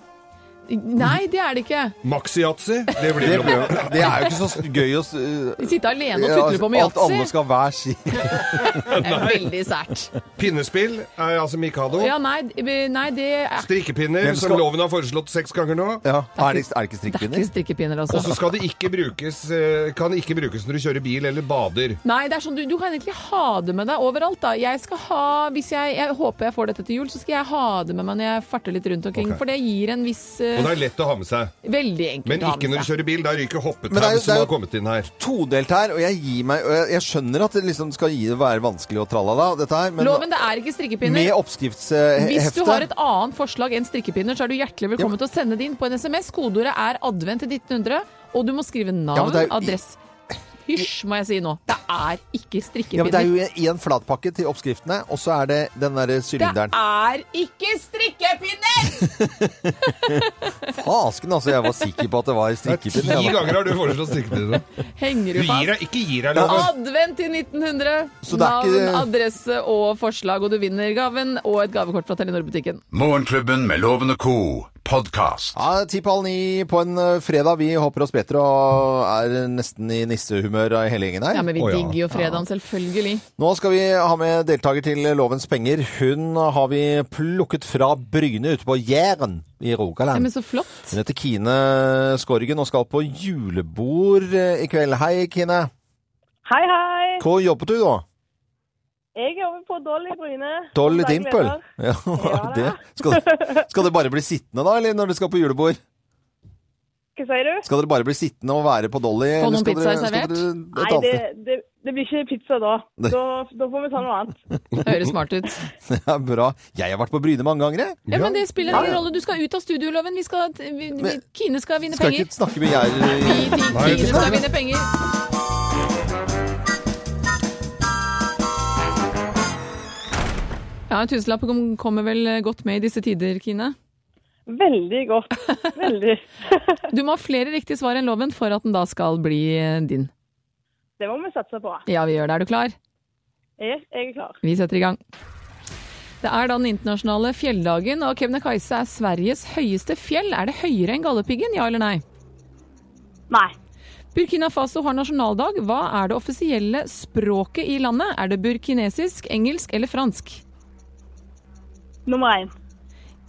Speaker 4: Nei, det er det ikke.
Speaker 5: Maxi-yatzy. Det
Speaker 3: Det,
Speaker 5: blir
Speaker 3: blir
Speaker 5: bra.
Speaker 3: jo- det er jo ikke så s- gøy å s- øh,
Speaker 4: Sitte alene og
Speaker 3: ja,
Speaker 4: tutle på med
Speaker 3: At alle
Speaker 4: yatzy
Speaker 3: skal ha hver sin.
Speaker 4: er veldig sært.
Speaker 5: Pinnespill, er altså mikado.
Speaker 4: Ja, nei, d- nei, det er
Speaker 5: Strikkepinner,
Speaker 3: Hvem skal-
Speaker 5: som loven har foreslått seks ganger nå.
Speaker 3: Ja. Er det, er det ikke
Speaker 4: det er ikke
Speaker 3: strikkepinner?
Speaker 4: strikkepinner,
Speaker 5: Og så
Speaker 4: altså.
Speaker 5: skal det ikke brukes, eh, kan det ikke brukes når du kjører bil eller bader.
Speaker 4: Nei, det er sånn, du, du kan egentlig ha det med deg overalt. da. Jeg skal ha, hvis jeg, jeg håper jeg får dette til jul, så skal jeg ha det med meg når jeg farter litt rundt omkring.
Speaker 5: Ok.
Speaker 4: For det gir en viss eh, eh,
Speaker 5: Og det er lett å ha med seg.
Speaker 4: veldig enkelt
Speaker 5: Men
Speaker 4: å ha med
Speaker 5: ikke når du
Speaker 4: seg.
Speaker 5: kjører bil. Da ryker
Speaker 3: Men det er jo-
Speaker 5: hoppetau
Speaker 3: det er
Speaker 5: som
Speaker 3: jo-
Speaker 5: har kommet inn her.
Speaker 3: Todelt her, og jeg gir meg og Jeg, jeg skjønner at det liksom skal gi det være vanskelig og tralala, dette her, men
Speaker 4: Loven, det er ikke
Speaker 3: med eh,
Speaker 4: strikkepinner. Hvis du
Speaker 3: oppskriftshefte
Speaker 4: har et annet forslag enn strikkepinner, så er du hjertelig velkommen til å sende det inn på en SMS. Kodeordet er advent til 1900, og du må skrive
Speaker 3: Ja, men
Speaker 4: navn,
Speaker 3: det er jo-
Speaker 4: adresse Hysj, må jeg si nå. Det er ikke
Speaker 3: ja, men Det er
Speaker 4: strikkepinner.
Speaker 3: jo i en flatpakke til oppskriftene, og så er det den derre
Speaker 4: Det
Speaker 3: sylinderen.
Speaker 4: er ikke strikkepinner!
Speaker 3: Fasken, altså. Jeg var sikker på at det var i
Speaker 5: Det er Ti
Speaker 3: strikkepinner. jeg, da.
Speaker 5: ganger har du foreslått strikkepinne.
Speaker 4: Henger
Speaker 5: Du
Speaker 4: du
Speaker 5: gir
Speaker 4: fast?
Speaker 5: deg, ikke gir deg, Loven.
Speaker 4: Advent i 1900.
Speaker 3: Så det er
Speaker 4: Navn,
Speaker 3: ikke-
Speaker 4: adresse og forslag, og du vinner gaven og et gavekort fra Telenor-butikken.
Speaker 2: Morgenklubben med Loven og Co. Podcast.
Speaker 3: Ja, Ti på halv ni på en ø, fredag. Vi hopper oss bedre og er nesten i nissehumør av hele gjengen her.
Speaker 4: Ja, men vi
Speaker 5: Å, ja.
Speaker 4: digger jo fredagen, selvfølgelig.
Speaker 3: Nå skal vi ha med deltaker til Lovens penger. Hun har vi plukket fra Bryne ute på Jæren i
Speaker 4: Ja,
Speaker 3: Rogaland.
Speaker 4: men så flott.
Speaker 3: Hun heter Kine Skorgen og skal på julebord eh, i kveld. Hei, Kine.
Speaker 10: Hei, hei.
Speaker 3: Hvor jobbet du, da?
Speaker 10: Jeg jobber på Dolly Bryne.
Speaker 3: Dolly
Speaker 10: Daglig
Speaker 3: Dimple?
Speaker 10: leder.
Speaker 3: Ja,
Speaker 10: Ja,
Speaker 3: det.
Speaker 10: da.
Speaker 3: Skal, skal dere bare bli sittende, da, eller når dere skal på julebord?
Speaker 10: Hva sier du?
Speaker 3: Skal dere bare bli sittende og være på Dolly?
Speaker 4: Få
Speaker 3: eller
Speaker 4: noen
Speaker 3: skal
Speaker 4: pizzaer
Speaker 3: dere- skal
Speaker 4: servert?
Speaker 3: dere et
Speaker 10: Nei,
Speaker 3: annet
Speaker 10: det,
Speaker 3: sted?
Speaker 10: det, det blir ikke pizza da.
Speaker 3: Nei.
Speaker 10: da. Da får vi ta noe annet.
Speaker 4: Høres smart ut.
Speaker 3: Det er bra. Jeg har vært på Bryne mange ganger, jeg.
Speaker 4: Ja, men det spiller
Speaker 3: Ja,
Speaker 4: ingen
Speaker 3: ja.
Speaker 4: rolle. Du skal ut av studioloven. Vi skal, vi, vi,
Speaker 3: Men-
Speaker 4: Kine skal vinne
Speaker 3: Skal
Speaker 4: penger.
Speaker 3: ikke snakke med jeg...
Speaker 4: Vi-
Speaker 5: Nei,
Speaker 4: Kine
Speaker 5: det-
Speaker 4: skal vinne penger. Ja, en tusenlapp kom- kommer vel godt med i disse tider, Kine.
Speaker 10: Veldig godt. Veldig.
Speaker 4: Du må ha flere riktige svar enn loven for at den da skal bli eh, din.
Speaker 10: Det må vi satse på.
Speaker 4: Ja, vi gjør det. Er du klar?
Speaker 10: Jeg, jeg er klar.
Speaker 4: Vi setter i gang. Det er da den internasjonale fjelldagen, og Kebnekaise er Sveriges høyeste fjell. Er det høyere enn Galdhøpiggen, ja eller nei?
Speaker 10: Nei.
Speaker 4: Burkina Faso har nasjonaldag. Hva er det offisielle språket i landet? Er det burkinesisk, engelsk eller fransk?
Speaker 10: Nummer én.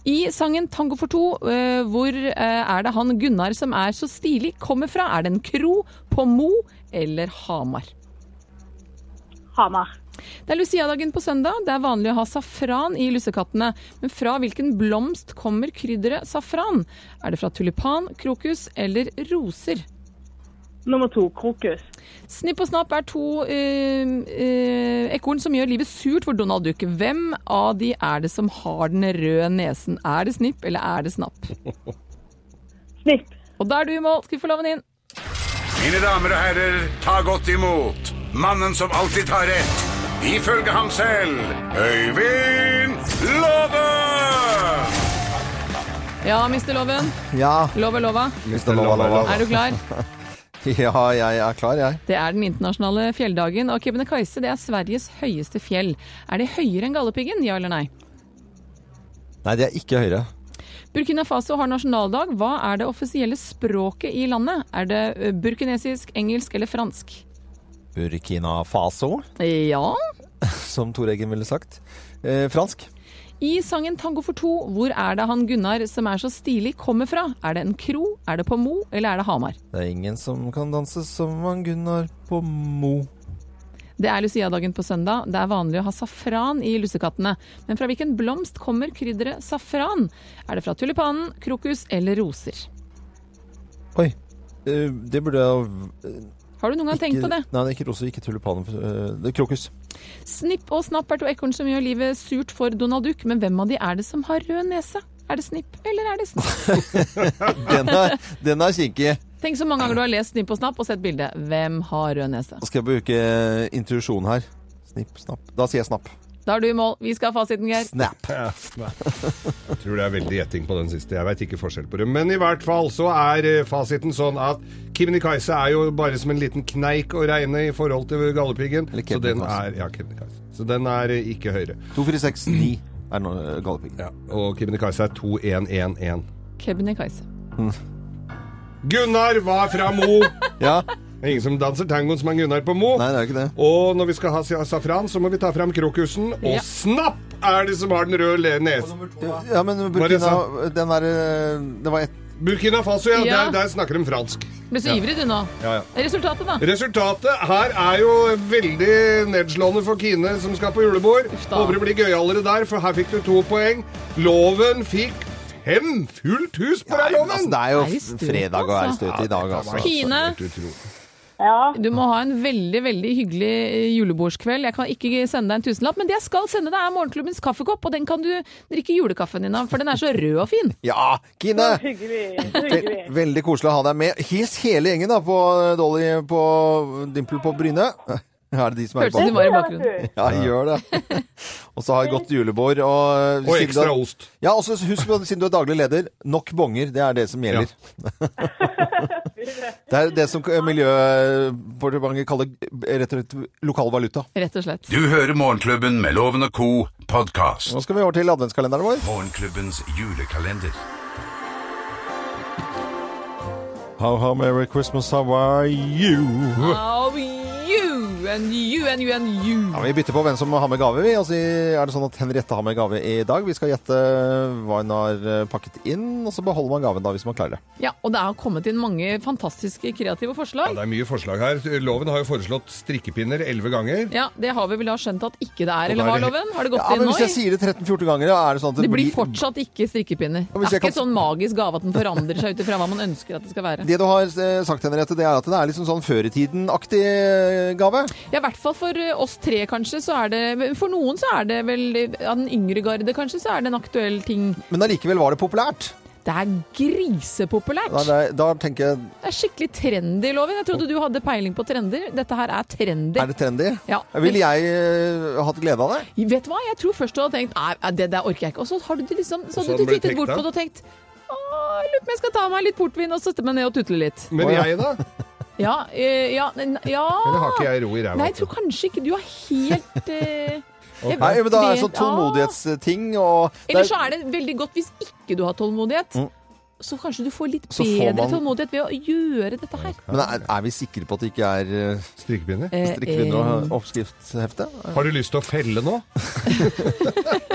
Speaker 4: I sangen 'Tango for to', eh, hvor eh, er det han Gunnar som er så stilig, kommer fra? Er det en kro, på Mo eller Hamar?
Speaker 10: Hamar.
Speaker 4: Det er Lucia-dagen på søndag. Det er vanlig å ha safran i lussekattene. Men fra hvilken blomst kommer krydderet safran? Er det fra tulipan, krokus eller roser?
Speaker 10: Nummer to. Krokus.
Speaker 4: Snipp og snapp er to eh, eh, ekorn som gjør livet surt for Donald Duck. Hvem av de er det som har den røde nesen? Er det snipp eller er det snapp?
Speaker 10: Snipp.
Speaker 4: Og da er du i mål. Skal vi få loven inn?
Speaker 2: Mine damer og herrer, ta godt imot mannen som alltid tar rett. Ifølge ham selv Øyvind Låve!
Speaker 4: Ja, mister loven.
Speaker 3: Ja,
Speaker 4: Lova, lova.
Speaker 3: Mr. Lova, Lova.
Speaker 4: Er du klar?
Speaker 3: ja, jeg er klar, jeg.
Speaker 4: Det er den internasjonale fjelldagen, og Kebnekaise det er Sveriges høyeste fjell. Er det høyere enn Galdhøpiggen, ja eller nei?
Speaker 3: Nei, det er ikke høyre.
Speaker 4: Burkina Faso har nasjonaldag. Hva er det offisielle språket i landet? Er det ø, burkinesisk, engelsk eller fransk?
Speaker 3: Burkina Faso,
Speaker 4: Ja.
Speaker 3: som Tor Eggen ville sagt. Eh, fransk.
Speaker 4: I sangen 'Tango for to', hvor er det han Gunnar som er så stilig, kommer fra? Er det en kro, er det på Mo, eller er det Hamar?
Speaker 3: Det er ingen som kan danse som han Gunnar på Mo.
Speaker 4: Det er Lucia-dagen på søndag. Det er vanlig å ha safran i lussekattene. Men fra hvilken blomst kommer krydderet safran? Er det fra tulipanen, krokus eller roser?
Speaker 3: Oi. eh, Det burde jeg ha
Speaker 4: Har du noen gang tenkt på det?
Speaker 3: Nei, det er ikke roser, ikke tulipaner. eh, Det er krokus.
Speaker 4: Snipp og snapp er to ekorn som gjør livet surt for Donald Duck, men hvem av de er det som har rød nese? Er det snipp, eller er det snapp?
Speaker 3: Den er, den er kinkig.
Speaker 4: Tenk så mange ganger du har lest Snipp og Snapp og sett bildet. Hvem har rød nese?
Speaker 3: Da skal jeg bruke intuisjon her. Snipp, snapp. Da sier jeg snapp.
Speaker 4: Da er du i mål. Vi skal ha fasiten, Geir.
Speaker 3: Snap.
Speaker 5: Ja, nei. Jeg tror det er veldig gjetting på den siste. Jeg veit ikke forskjell på det. Men i hvert fall så er eh, fasiten sånn at Kebnekaise er jo bare som en liten kneik å regne i forhold til Galdhøpiggen.
Speaker 3: Eller
Speaker 5: Så den
Speaker 3: Kebnekaise.
Speaker 5: er Ja, Kebnekaise. Så den er eh, ikke høyere.
Speaker 3: 2469 er nå eh, gallepiggen.
Speaker 5: Ja, og Kebnekaise er 2111.
Speaker 4: Kebnekaise.
Speaker 5: Gunnar var fra Mo!
Speaker 3: Ja.
Speaker 5: Det er Ingen som danser tangoen som er Gunnar på Mo.
Speaker 3: Nei, det er ikke det.
Speaker 5: Og når vi skal ha sa- safran, så må vi ta fram krokusen. Og
Speaker 4: Ja.
Speaker 5: snapp er det som har den røde le- nesen.
Speaker 3: Ja, men
Speaker 5: Hva er det jeg
Speaker 3: Burkina Den der eh, Det var et
Speaker 5: Burkina Faso, ja.
Speaker 4: Ja.
Speaker 5: Der, der snakker de fransk.
Speaker 4: Ble så ivrig du nå.
Speaker 5: Ja, ja.
Speaker 4: Resultatet, da?
Speaker 5: Resultatet her er jo veldig nedslående for Kine som skal på julebord.
Speaker 4: Uff da.
Speaker 5: Håper det blir gøyalere der, for her fikk du to poeng. Loven fikk fem fullt hus på deg,
Speaker 3: men altså,
Speaker 5: Loven!
Speaker 3: det er jo
Speaker 4: Er det støt,
Speaker 3: fredag og er
Speaker 4: altså?
Speaker 3: støt i dag, altså.
Speaker 4: Kine,
Speaker 5: Helt utrolig.
Speaker 10: Ja.
Speaker 4: du må ha en veldig veldig hyggelig eh, julebordskveld. Jeg kan ikke sende deg en tusenlapp, men det jeg skal sende deg, er morgenklubbens kaffekopp. Og den kan du drikke julekaffen din av, for den er så rød og fin.
Speaker 3: Ja, Kine!
Speaker 10: Hyggelig.
Speaker 3: Ve
Speaker 10: Hyggelig.
Speaker 3: veldig koselig å ha deg med. Hils hele gjengen da på eh, Dolly på Dimple på Bryne. Er det de som er i
Speaker 4: Hørtes ut som de
Speaker 3: bakgrunnen?
Speaker 4: var i bakgrunnen.
Speaker 3: Ja, gjør det. Og så ha et godt julebord. Og, eh,
Speaker 5: Og
Speaker 3: siden du-
Speaker 5: ekstra ost.
Speaker 3: Ja, og så husk, på, siden du er daglig leder, nok bonger. Det er det som gjelder. det er det som Miljødepartementet kaller rett og slett lokal valuta.
Speaker 4: Rett og slett.
Speaker 2: Du hører Morgenklubben med Loven og Co. podkast.
Speaker 3: Nå skal vi over til adventskalenderen vår.
Speaker 2: Morgenklubbens julekalender.
Speaker 3: How, how, merry Christmas, how are you?
Speaker 4: Oh, you and you and you and
Speaker 3: Ja,
Speaker 4: you.
Speaker 3: Vi bytter på hvem som har med gave. vi. Altså, er det sånn at Henriette har med gave i dag? Vi skal gjette hva hun har eh, pakket inn, og så beholder man gaven da hvis man klarer det.
Speaker 4: Ja, og det har kommet inn mange fantastiske kreative
Speaker 5: Ja,
Speaker 4: forslag.
Speaker 5: det er mye forslag her. Loven har jo foreslått strikkepinner elleve ganger.
Speaker 4: Ja, det har vi vel da skjønt at ikke det er, eller
Speaker 5: da
Speaker 4: hva,
Speaker 5: er det-
Speaker 4: Loven? Har det gått
Speaker 3: Ja,
Speaker 4: inn
Speaker 3: men
Speaker 4: nå?
Speaker 3: Hvis jeg
Speaker 4: i?
Speaker 3: sier det 13-14 ganger, da er det sånn at
Speaker 4: Det blir fortsatt ikke strikkepinner. Det
Speaker 3: hvis
Speaker 4: er
Speaker 3: jeg
Speaker 4: ikke
Speaker 3: kan-
Speaker 4: sånn magisk gave at den forandrer seg ut ifra hva man ønsker at det skal være.
Speaker 3: Det du har eh, sagt, Henriette, det er at det er liksom sånn før i tiden-aktig eh, gave.
Speaker 4: Ja, i hvert fall for eh, oss tre, kanskje, så er det men For noen så er det vel eh, Av den yngre garde, kanskje, så er det en aktuell ting.
Speaker 3: Men allikevel var det populært.
Speaker 4: Det er grisepopulært.
Speaker 3: Da,
Speaker 4: Det
Speaker 3: da, da tenker jeg
Speaker 4: er skikkelig trendy, Loven. Jeg trodde du hadde peiling på trender. Dette her er trendy.
Speaker 3: Er det trendy?
Speaker 4: Ja.
Speaker 3: Ville jeg eh, hatt glede av det?
Speaker 4: Vet du hva, jeg tror først du hadde tenkt Nei, nei, det der orker jeg ikke. Og så har du det liksom Så
Speaker 5: Og så
Speaker 4: hadde du
Speaker 5: ble det
Speaker 4: tittet
Speaker 5: tenkt
Speaker 4: bort på det
Speaker 5: da.
Speaker 4: og tenkt Å, jeg lurer på om jeg skal ta meg litt portvin og sette meg ned og tutle litt.
Speaker 5: Men
Speaker 3: Å, ja.
Speaker 5: jeg, da?
Speaker 4: Ja, eh, ja, n- ja.
Speaker 5: Eller har ikke jeg ro i ræva?
Speaker 4: Nei, jeg tror kanskje ikke du er helt eh, jeg
Speaker 3: Nei, men da er det
Speaker 4: vet-
Speaker 3: sånn tålmodighetsting og
Speaker 4: Ah. Eller så er det veldig godt hvis ikke du har tålmodighet.
Speaker 3: Mm.
Speaker 4: Så kanskje du får litt
Speaker 3: Så får
Speaker 4: bedre
Speaker 3: man-
Speaker 4: tålmodighet ved å gjøre dette her.
Speaker 3: Men er, er vi sikre på at det ikke er eh,
Speaker 5: Strikkepinner?
Speaker 4: Eh,
Speaker 3: strikkepinner
Speaker 4: eh,
Speaker 3: og oppskriftshefte?
Speaker 5: Har du lyst til å felle nå?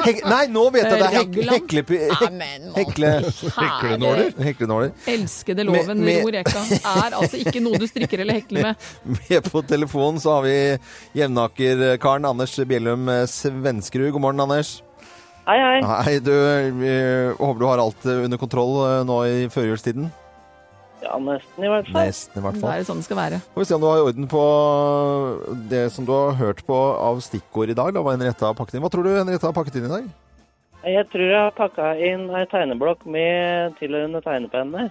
Speaker 3: Hek nei, nå vet jeg det er hek
Speaker 4: Raglan? Ah,
Speaker 3: hekle... Hek
Speaker 4: Amen,
Speaker 3: hekle
Speaker 5: Heklenåler?
Speaker 3: heklenåler.
Speaker 4: elskede loven
Speaker 3: Med- med-
Speaker 4: Ror Eka er altså ikke noe du strikker eller hekler med.
Speaker 3: Med på telefonen så har vi jevnakerkaren Anders Bjellum Svenskerud. God morgen, Anders.
Speaker 10: Hei, hei.
Speaker 3: Hei, du. eh, håper du har alt eh, under kontroll eh, nå i førjulstiden?
Speaker 10: Ja, nesten i hvert fall.
Speaker 3: Nesten, i hvert
Speaker 4: Det
Speaker 3: fall.
Speaker 4: er jo sånn det skal være.
Speaker 3: Får vi se om du har orden på eh, det som du har hørt på av stikkord i dag. Da, hva Henriette har pakket inn. Hva tror du Henriette har pakket inn i dag?
Speaker 10: Jeg tror jeg har pakka inn ei tegneblokk med tilhørende tegnepenner.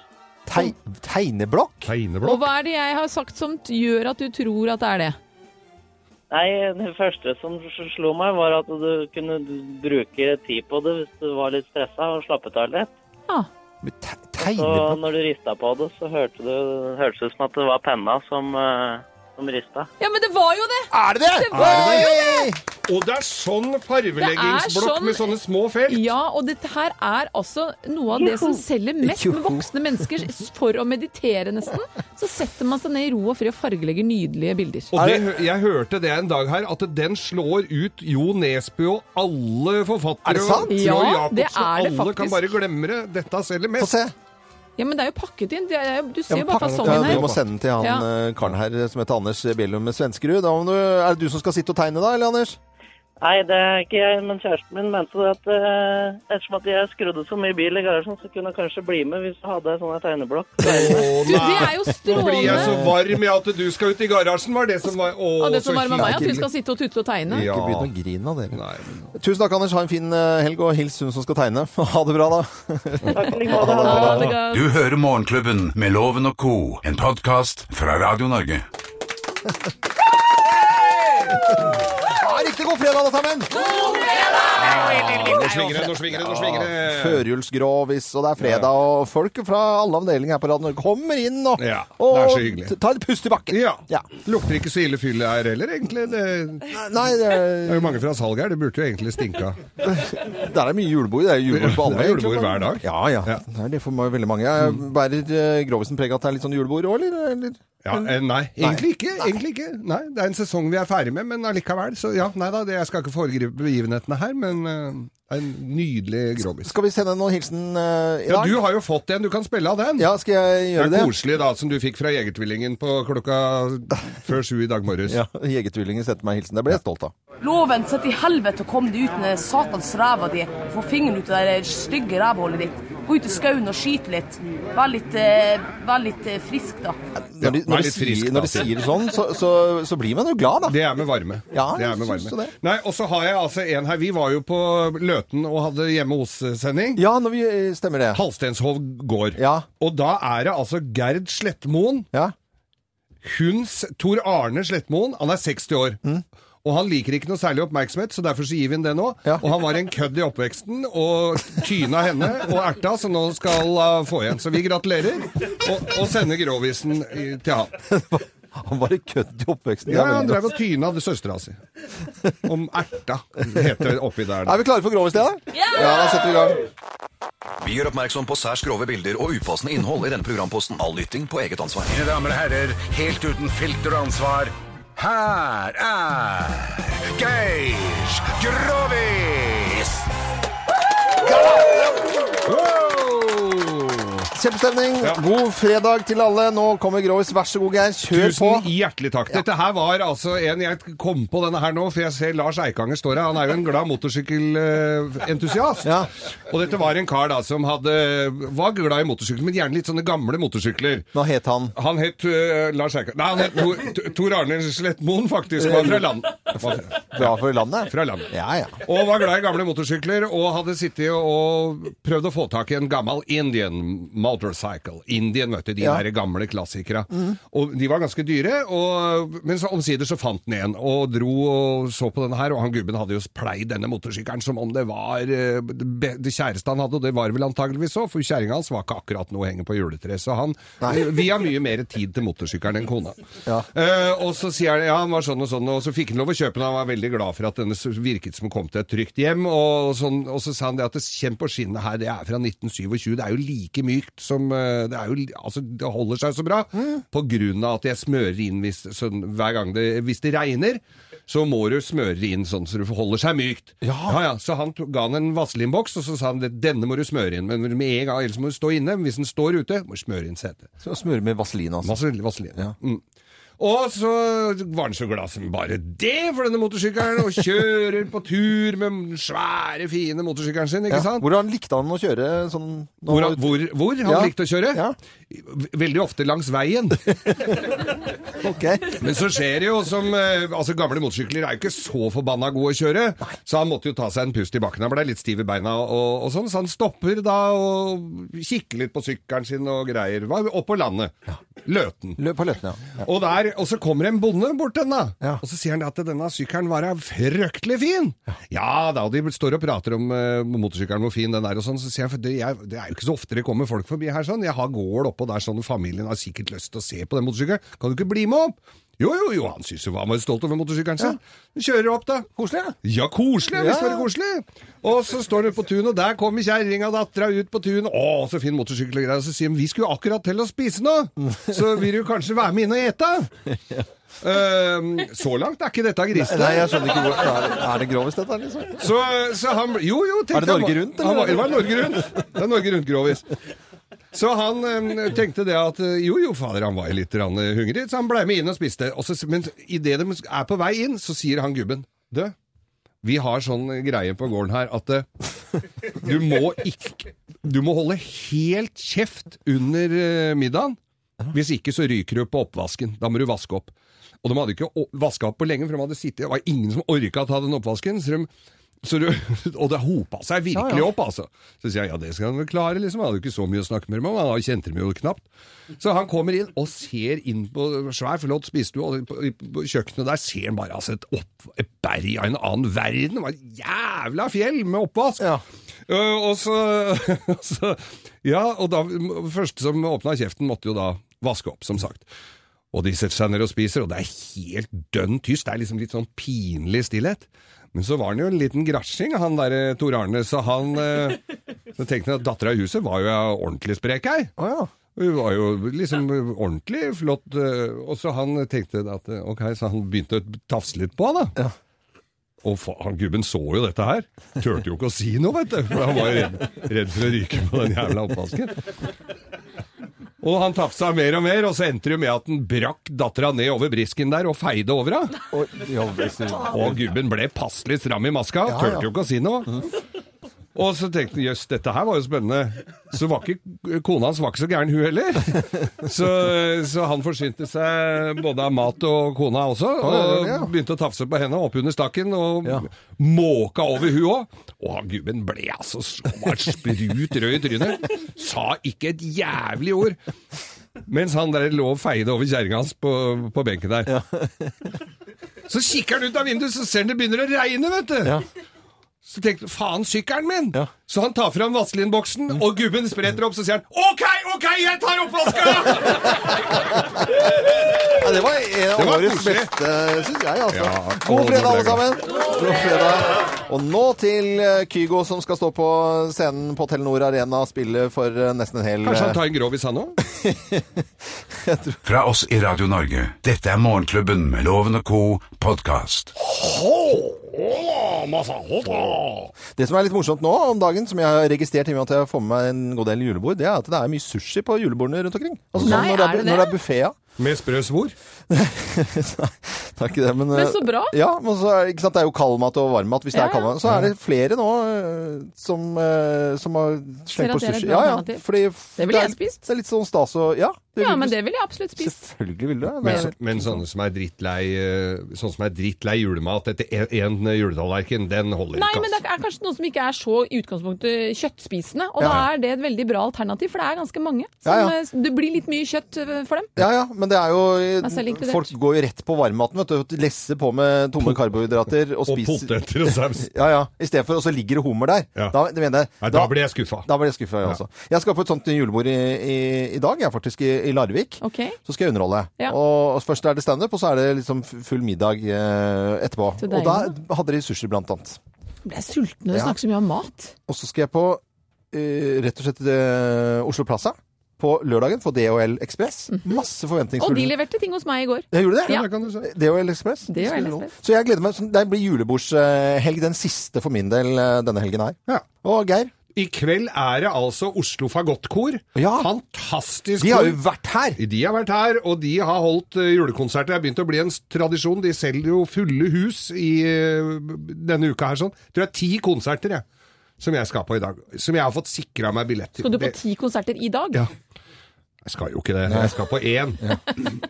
Speaker 3: Tei tegneblokk?
Speaker 4: Og
Speaker 5: Tegneblokk?
Speaker 4: hva er det jeg har sagt som t- gjør at du tror at det er det?
Speaker 10: Nei, det første som s- slo meg, var at du kunne d- bruke tid på det hvis du var litt stressa og slappet av litt.
Speaker 4: Ja.
Speaker 3: Te
Speaker 10: Så
Speaker 3: tegneblokk?
Speaker 10: når du rista på det, så hørte du, hørtes det ut som at det var penna som, eh, som rista.
Speaker 4: Ja, men det var jo det!
Speaker 3: Er det det?!
Speaker 4: Det var jo
Speaker 3: Hey!
Speaker 5: Og det er sånn
Speaker 4: Det
Speaker 5: farveleggingsblokk
Speaker 4: er sånn-
Speaker 5: med sånne små felt!
Speaker 4: Ja, og dette her er altså noe av det som selger mest med voksne mennesker for å meditere, nesten. Så setter man seg ned i ro og fred og fargelegger nydelige bilder.
Speaker 5: Og det, hø- jeg hørte det en dag her, at den slår ut Jo Nesbø og alle
Speaker 3: Er det
Speaker 5: forfattere.
Speaker 3: sant?
Speaker 5: og Roy
Speaker 4: Ja,
Speaker 5: Jacobsen,
Speaker 4: det er det
Speaker 5: alle
Speaker 4: faktisk.
Speaker 5: kan bare glemme det. Dette selger
Speaker 3: Få
Speaker 5: mest.
Speaker 3: se.
Speaker 4: Ja, men det er jo pakket inn. Det er, jo- du ser jo
Speaker 5: men
Speaker 4: bare
Speaker 5: pakket-
Speaker 4: fasongen
Speaker 3: Ja,
Speaker 4: her.
Speaker 3: du må sende den til han
Speaker 4: Ja.
Speaker 3: eh, karen her som heter Anders Bjellum Svenskerud. Da må du, er det du som skal sitte og tegne da, eller Anders?
Speaker 10: Nei, det er ikke jeg, men kjæresten min mente det at eh, ettersom at jeg skrudde så mye bil i garasjen, så kunne jeg kanskje bli med hvis jeg hadde en sånn her tegneblokk.
Speaker 5: Å,
Speaker 4: Du, det er jo
Speaker 5: Nå blir jeg så
Speaker 4: strålende.
Speaker 5: varm i at du skal ut i garasjen, var det som var Å,
Speaker 4: Og det som
Speaker 5: så
Speaker 4: var med meg, at
Speaker 5: hyggelig.
Speaker 4: du skal sitte og tutte og tegne.
Speaker 5: Ja.
Speaker 3: Ikke begynn å grine av dere.
Speaker 5: Nei, men-
Speaker 3: Tusen takk, Anders. Ha en fin eh, helg, og hils hun som skal tegne. Ha det bra, da.
Speaker 10: Takk i like måte. Ha det.
Speaker 4: Ja, det ga-
Speaker 2: Du hører Morgenklubben med Loven og Co., en podkast fra Radio Norge.
Speaker 3: Ja, riktig god fredag, alle sammen!
Speaker 5: Nå svinger det, nå svinger det, nå svinger det.
Speaker 3: Førjulsgrovis, og det er fredag, og folk fra alle avdelinger her på Radio Norge kommer inn og,
Speaker 5: Ja, det er
Speaker 3: og
Speaker 5: så hyggelig.
Speaker 3: t- tar et pust i bakken.
Speaker 5: Ja.
Speaker 3: Ja.
Speaker 5: Lukter ikke så ille fyll her heller, egentlig. Det
Speaker 3: Nei, det
Speaker 5: er
Speaker 3: er,
Speaker 5: jo mange fra salget her, det burde jo egentlig stinka.
Speaker 3: der er mye julebord. Det er julebord på alle.
Speaker 5: Det er julebord
Speaker 3: egentlig.
Speaker 5: hver dag.
Speaker 3: Ja, ja.
Speaker 5: Ja. Mm.
Speaker 3: Det er det for meg veldig mange. Jeg bærer eh, grovisen preg av at det er litt sånn julebord òg, eller? eller?
Speaker 5: Ja, eh, nei, egentlig ikke. Egentlig ikke. Nei, det er en sesong vi er ferdig med, men allikevel. Så ja, nei da, det, jeg skal ikke foregripe begivenhetene her, men eh, det er en nydelig grovis.
Speaker 3: Skal vi sende noen hilsen eh, i
Speaker 5: Ja,
Speaker 3: dag?
Speaker 5: du har jo fått en, du kan spille av den.
Speaker 3: Ja, skal jeg
Speaker 5: Det
Speaker 3: gjøre
Speaker 5: er
Speaker 3: det?
Speaker 5: koselig da, som du fikk fra Jegertvillingen på klokka før sju i dag morges.
Speaker 3: Ja, Jegertvillingen sendte meg hilsen. Det ble jeg stolt av.
Speaker 8: Loven sitt i helvete og kom deg ut med satans ræva di. Få fingeren ut av det stygge rævhullet ditt. Gå ut i skauen og skyte litt. Vær litt, eh, vær litt eh, frisk, da.
Speaker 3: Når de,
Speaker 5: vær
Speaker 3: når de,
Speaker 5: litt frisk,
Speaker 3: sier,
Speaker 5: da,
Speaker 3: når de
Speaker 5: sier.
Speaker 3: sier sånn, så, så, så blir man jo glad, da.
Speaker 5: Det er med varme.
Speaker 3: Ja,
Speaker 5: det er med
Speaker 3: jeg syns
Speaker 5: varme.
Speaker 3: det.
Speaker 5: Nei, og så har jeg altså en her. Vi var jo på Løten og hadde hjemme hos-sending.
Speaker 3: Ja, når vi eh, stemmer det.
Speaker 5: Halstenshov gård.
Speaker 3: Ja.
Speaker 5: Og da er det altså Gerd Slettmoen.
Speaker 3: Ja.
Speaker 5: Huns Tor Arne Slettmoen. Han er 60 år. Og han liker ikke noe særlig oppmerksomhet, så derfor så gir vi ham det nå.
Speaker 3: Ja.
Speaker 5: Og han var en kødd i oppveksten, og tyna henne og erta, så nå skal hun få igjen. Så vi gratulerer, og, og sender grovisen i- til han.
Speaker 3: Han var i kødd i oppveksten.
Speaker 5: Ja, han
Speaker 3: veldig bra.
Speaker 5: drev og tyna det søstera si. Om erta, heter det oppi der.
Speaker 3: Er vi klare for Grovis, Lea? Ja, da setter vi i gang.
Speaker 11: Vi gjør oppmerksom på særs grove bilder og upassende innhold i denne programposten. All lytting på eget ansvar.
Speaker 2: Mine damer og herrer, helt uten filter og ansvar, her er Geir Grovis!
Speaker 5: Wow!
Speaker 3: Kjempestemning. God fredag til alle. Nå kommer Grovis. Vær så god, Geir. Kjør på.
Speaker 5: Tusen hjertelig takk. Dette her var altså en Jeg kom på denne her nå, for jeg ser Lars Eikanger står her. Han er jo en glad motorsykkelentusiast.
Speaker 3: Ja.
Speaker 5: Og dette var en kar da som hadde, var glad i motorsykler, men gjerne litt sånne gamle motorsykler.
Speaker 3: Nå het han
Speaker 5: Han het øh, Lars Eikanger Nei, han het Tor, Tor- Tor Arne Slettmoen, faktisk. Var fra land. Var fra,
Speaker 3: Bra for landet.
Speaker 5: fra landet.
Speaker 3: Ja, ja.
Speaker 5: Og var glad i gamle motorsykler, og hadde sittet og prøvd å få tak i en gammel Indian motorcycle. Indian, vet du, de
Speaker 3: Ja.
Speaker 5: der gamle klassikere. Og de var ganske dyre, og, men så omsider så fant han en, og dro og så på denne her, og han gubben hadde jo pleid denne motorsykkelen som om det var eh, det be- det kjæreste han hadde, og det var det vel antageligvis så, for kjæringa hans var ikke akkurat noe å henge på juletreet, så han Vi har mye mer tid til motorsykkelen enn kona.
Speaker 3: Ja.
Speaker 5: Eh, og så sier han ja, han var sånn og sånn, og så fikk han lov å kjøpe den. Han var veldig glad for at denne s- virket som kom til et trygt hjem. Og, sånn, og så sa han det at det kjenn på skinnet her, det er fra 1927. Det er jo like mykt som eh, Det, er jo, li- altså, det holder seg så bra på grunn av at jeg smører inn hvis, sånn, hver gang det, hvis det regner. Så må du smøre inn sånn så du holder seg mykt. Ja. ja, Så han to, ga han en vaselinboks, og så sa han det, denne må du smøre inn. Men med en gang, ellers må du stå inne. Hvis den står ute, må du smøre inn setet.
Speaker 3: Så smøre med vaselin, altså.
Speaker 5: Vaselin. vaselin. Mm. Og så var han så glad som bare det for denne motorsykkelen, og kjører på tur med den svære, fine motorsykkelen sin, ikke
Speaker 3: Ja.
Speaker 5: sant?
Speaker 3: Hvordan likte han å kjøre sånn når han
Speaker 5: Hvor,
Speaker 3: var ute?
Speaker 5: hvor, hvor han
Speaker 3: Ja.
Speaker 5: likte å kjøre?
Speaker 3: Ja.
Speaker 5: Veldig ofte langs veien.
Speaker 3: Ok.
Speaker 5: Men så skjer det jo som eh, Altså, gamle motorsykler er jo ikke så forbanna gode å kjøre, så han måtte jo ta seg en pust i bakken. Han ble litt stiv i beina og, og sånn, så han stopper da og kikker litt på sykkelen sin og greier. Var opp på landet. Løten.
Speaker 3: Løp på løpene, ja.
Speaker 5: Og, der, og så kommer en bonde bort til den da,
Speaker 3: Ja.
Speaker 5: og så sier han at denne sykkelen var da fryktelig fin. Ja da, og de står og prater om eh, motorsykkelen hvor fin den er og sånn, så sier han, for det, jeg, det er jo ikke så ofte det kommer folk forbi her sånn, jeg har gård oppå der sånn, og familien har sikkert lyst til å se på den motorsykkelen, kan du ikke bli med opp? Jo, jo, jo, han synes jo han var stolt over motorsykkelen sin. Han Kjører opp da.
Speaker 3: Koselig, ja.
Speaker 5: Ja, koselig, hvis
Speaker 3: Ja.
Speaker 5: det var koselig. Og så står dere på tunet, og der kommer kjerringa og dattera ut på tunet. Å, så fin motorsykkel og greier. Og så sier de, vi skulle akkurat til å spise nå, så vil du kanskje være med inn og ete? Ehm, så langt er ikke dette grisete.
Speaker 3: Nei, jeg skjønner ikke hvor Er det, er det grovis, dette, her, liksom?
Speaker 5: Så, så han ble- Jo, jo. tenkte
Speaker 3: Er det Norge
Speaker 5: han-
Speaker 3: Rundt, eller?
Speaker 5: Han, var- det var Norge Rundt. Det er Norge Rundt-grovis. Så han em, tenkte det at eh, jo, jo, fader, han var jo litt rann, eh, hungrig, så han ble med inn og spiste. Og så, men idet de er på vei inn, så sier han gubben Du, vi har sånn greie på gården her at eh, du må ikke Du må holde helt kjeft under eh, middagen. Hvis ikke så ryker du på oppvasken. Da må du vaske opp. Og de hadde ikke vaska opp på lenge, for de hadde sittet, det var ingen som orka å ta den oppvasken. Så de, så du, og det hopa seg virkelig opp, altså. Så sier jeg ja, det skal han vel klare, liksom. Han hadde jo ikke så mye å snakke med dem om, han kjente dem jo knapt. Så han kommer inn og ser inn på svær, flott spisestue, og på, på kjøkkenet der ser han bare altså, et, opp, et berg av en annen verden. Det var et jævla fjell med oppvask!
Speaker 3: Ja.
Speaker 5: Eh, og så, så Ja, og da Første som åpna kjeften, måtte jo da vaske opp, som sagt. Og de setter seg ned og spiser, og det er helt dønn tyst. Det er liksom litt sånn pinlig stillhet. Men så var han jo en liten grasjing, han der eh, Tor Arne, så han eh, Så tenkte han at dattera i huset var jo ordentlig sprek ei.
Speaker 3: Å ja.
Speaker 5: Hun var jo liksom ordentlig flott. eh, Og så han tenkte at eh, ok, så han begynte å tafse litt på henne, da. Og fa han gubben så jo dette her. Turte jo ikke å si noe, vet du. For han var jo redd, redd for å ryke på den jævla oppvasken. Og han tafsa mer og mer, og så endte det jo med at han brakk dattera ned over brisken der og feide over henne.
Speaker 3: Og, ja, hvis du-
Speaker 5: Og gubben ble passelig stram i maska,
Speaker 3: ja.
Speaker 5: turte jo ikke å si noe. Og så tenkte han jøss, dette her var jo spennende. Så var ikke kona hans var ikke så gæren, hun heller. Så, så han forsynte seg både av mat og kona også,
Speaker 3: Ja, ja, ja.
Speaker 5: og begynte å tafse på henne oppunder stakken, og måka over hun òg. Og gubben ble altså så han var sprut rød i trynet. Sa ikke et jævlig ord. Mens han der lå og feide over kjerringa hans på, på benken der. Så kikker han ut av vinduet, så ser han det begynner å regne, vet du. Så tenkte han, faen, sykkelen min! Så han tar fram vaselinboksen,
Speaker 3: Mm.
Speaker 5: og gubben spretter opp, så sier han OK, OK, jeg tar oppvasken!
Speaker 3: Ja, det var en
Speaker 5: Det
Speaker 3: av
Speaker 5: var
Speaker 3: årets
Speaker 5: koselig.
Speaker 3: beste, syns jeg. altså.
Speaker 5: Ja,
Speaker 3: God fredag, alle
Speaker 5: alle
Speaker 3: sammen. God fredag. Og nå til eh, Kygo, som skal stå på scenen på Telenor Arena og spille for eh, nesten en hel
Speaker 5: Kanskje han tar en grovis, han òg?
Speaker 2: Fra oss i Radio Norge, dette er Morgenklubben med Loven og Co. podkast.
Speaker 3: Det som er litt morsomt nå om dagen, som jeg har registrert i og med at jeg får med meg en god del julebord, det er at det er mye sushi på julebordene rundt omkring. Altså sånn
Speaker 4: Nei,
Speaker 3: når det
Speaker 4: er
Speaker 3: er,
Speaker 4: det
Speaker 3: når det er
Speaker 4: det?
Speaker 3: buffet, ja.
Speaker 5: Med sprø svor?
Speaker 3: Nei, det er ikke det, men
Speaker 4: Men
Speaker 3: eh,
Speaker 4: så bra.
Speaker 3: Ja, men så er, ikke sant, det er jo kaldmat og varmmat hvis det
Speaker 4: Ja,
Speaker 3: er
Speaker 4: ja.
Speaker 3: kaldmat. Så er det flere nå eh, som, eh, som har
Speaker 4: Ser at
Speaker 3: slengt på
Speaker 4: det er et
Speaker 3: sushi.
Speaker 4: bra
Speaker 3: Ja, ja.
Speaker 4: alternativ.
Speaker 3: Fordi
Speaker 4: Det ville
Speaker 3: er-
Speaker 4: jeg spist.
Speaker 3: Det er litt sånn stas og Ja, det
Speaker 4: Ja,
Speaker 3: ville
Speaker 4: men
Speaker 3: du
Speaker 4: det ville jeg absolutt
Speaker 3: spist.
Speaker 4: spist.
Speaker 3: Selvfølgelig ville du det.
Speaker 5: Men,
Speaker 3: det. er-
Speaker 5: men sånne som er drittlei eh, Sånne som er drittlei julemat etter én eh, juletallerken, den holder
Speaker 4: Nei,
Speaker 5: ikke.
Speaker 4: men det
Speaker 5: ass.
Speaker 4: er kanskje noen som ikke er så i utgangspunktet kjøttspisende, og da
Speaker 3: Ja.
Speaker 4: er det et veldig bra alternativ, for det er ganske mange. Som,
Speaker 3: Ja, ja.
Speaker 4: eh, Det blir litt mye kjøtt eh, for dem.
Speaker 3: Ja, ja, men det er
Speaker 4: selv
Speaker 3: jo
Speaker 4: inkludert.
Speaker 3: Folk går jo rett på varmmaten, vet du. Lesser på med tomme karbohydrater og
Speaker 5: Og
Speaker 3: spiser
Speaker 5: poteter og saus.
Speaker 3: Ja, ja. I stedet for, og så ligger det hummer der.
Speaker 5: Ja.
Speaker 3: Da, det mener jeg,
Speaker 5: Nei, da blir jeg skuffa.
Speaker 3: Da blir jeg skuffa, jeg også. Jeg skal på et sånt julebord i, i, i dag, jeg er faktisk i, i Larvik.
Speaker 4: Ok.
Speaker 3: Så skal jeg underholde.
Speaker 4: Ja.
Speaker 3: Og, og først er det standup, og så er det liksom full middag eh, etterpå.
Speaker 4: Så
Speaker 3: Og
Speaker 4: deilig,
Speaker 3: da hadde de sushi, blant annet.
Speaker 4: Jeg ble sulten når du
Speaker 3: Ja.
Speaker 4: snakker så mye om mat.
Speaker 3: Og så skal jeg på eh, rett og slett eh, Oslo Plaza på lørdagen for DHL Ekspress. Masse
Speaker 4: Mhm. Og de
Speaker 3: forventningsfulle
Speaker 4: leverte ting hos meg i går.
Speaker 3: Jeg gjorde det?
Speaker 4: Ja.
Speaker 5: Det kan du si.
Speaker 3: DHL Ekspress.
Speaker 4: DHL Ekspress.
Speaker 3: Så jeg gleder meg. sånn- Det blir julebordshelg, den siste for min del eh, denne helgen her.
Speaker 5: Ja.
Speaker 3: Og Geir,
Speaker 5: I kveld er det altså Oslo Fagottkor.
Speaker 3: Ja.
Speaker 5: Fantastisk
Speaker 3: de har
Speaker 5: kor.
Speaker 3: jo vært her!
Speaker 5: De har vært her, og de har holdt eh, julekonserter. Det har begynt å bli en s- tradisjon. De selger jo fulle hus i eh, denne uka her. sånn. Jeg tror det er ti konserter jeg, som jeg skal på i dag. Som jeg har fått sikra meg billett til.
Speaker 4: Skal du på
Speaker 5: Det-
Speaker 4: ti konserter i dag?
Speaker 5: Ja. Jeg skal jo ikke det. Jeg skal på én.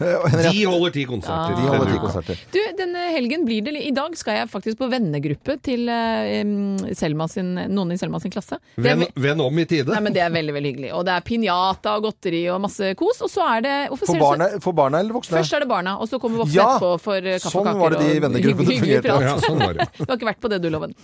Speaker 5: De Ah. holder ti konserter.
Speaker 3: De holder
Speaker 5: denne
Speaker 3: ti
Speaker 5: uka.
Speaker 3: konserter.
Speaker 4: Du, denne helgen blir det li- I dag skal jeg faktisk på vennegruppe til eh, em, Selma sin, noen i Selma sin klasse. Det er
Speaker 5: Venn,
Speaker 4: ve-
Speaker 5: venn om i tide.
Speaker 4: Nei, men Det er veldig veldig hyggelig. Og det er pinjata og godteri og masse kos. Og så er det hvorfor ser
Speaker 3: For
Speaker 4: du så-
Speaker 3: barna, for barna eller voksne?
Speaker 4: Først er det barna, og så kommer voksne
Speaker 3: Ja,
Speaker 4: etterpå for eh, kaffe og
Speaker 3: sånn
Speaker 4: kaker
Speaker 3: var det de
Speaker 4: og
Speaker 3: vennegruppene
Speaker 4: hyggelig- hyggelig
Speaker 3: fungerte.
Speaker 4: prat.
Speaker 5: ja, sånn var det.
Speaker 4: Du har ikke vært på det, du, Loven.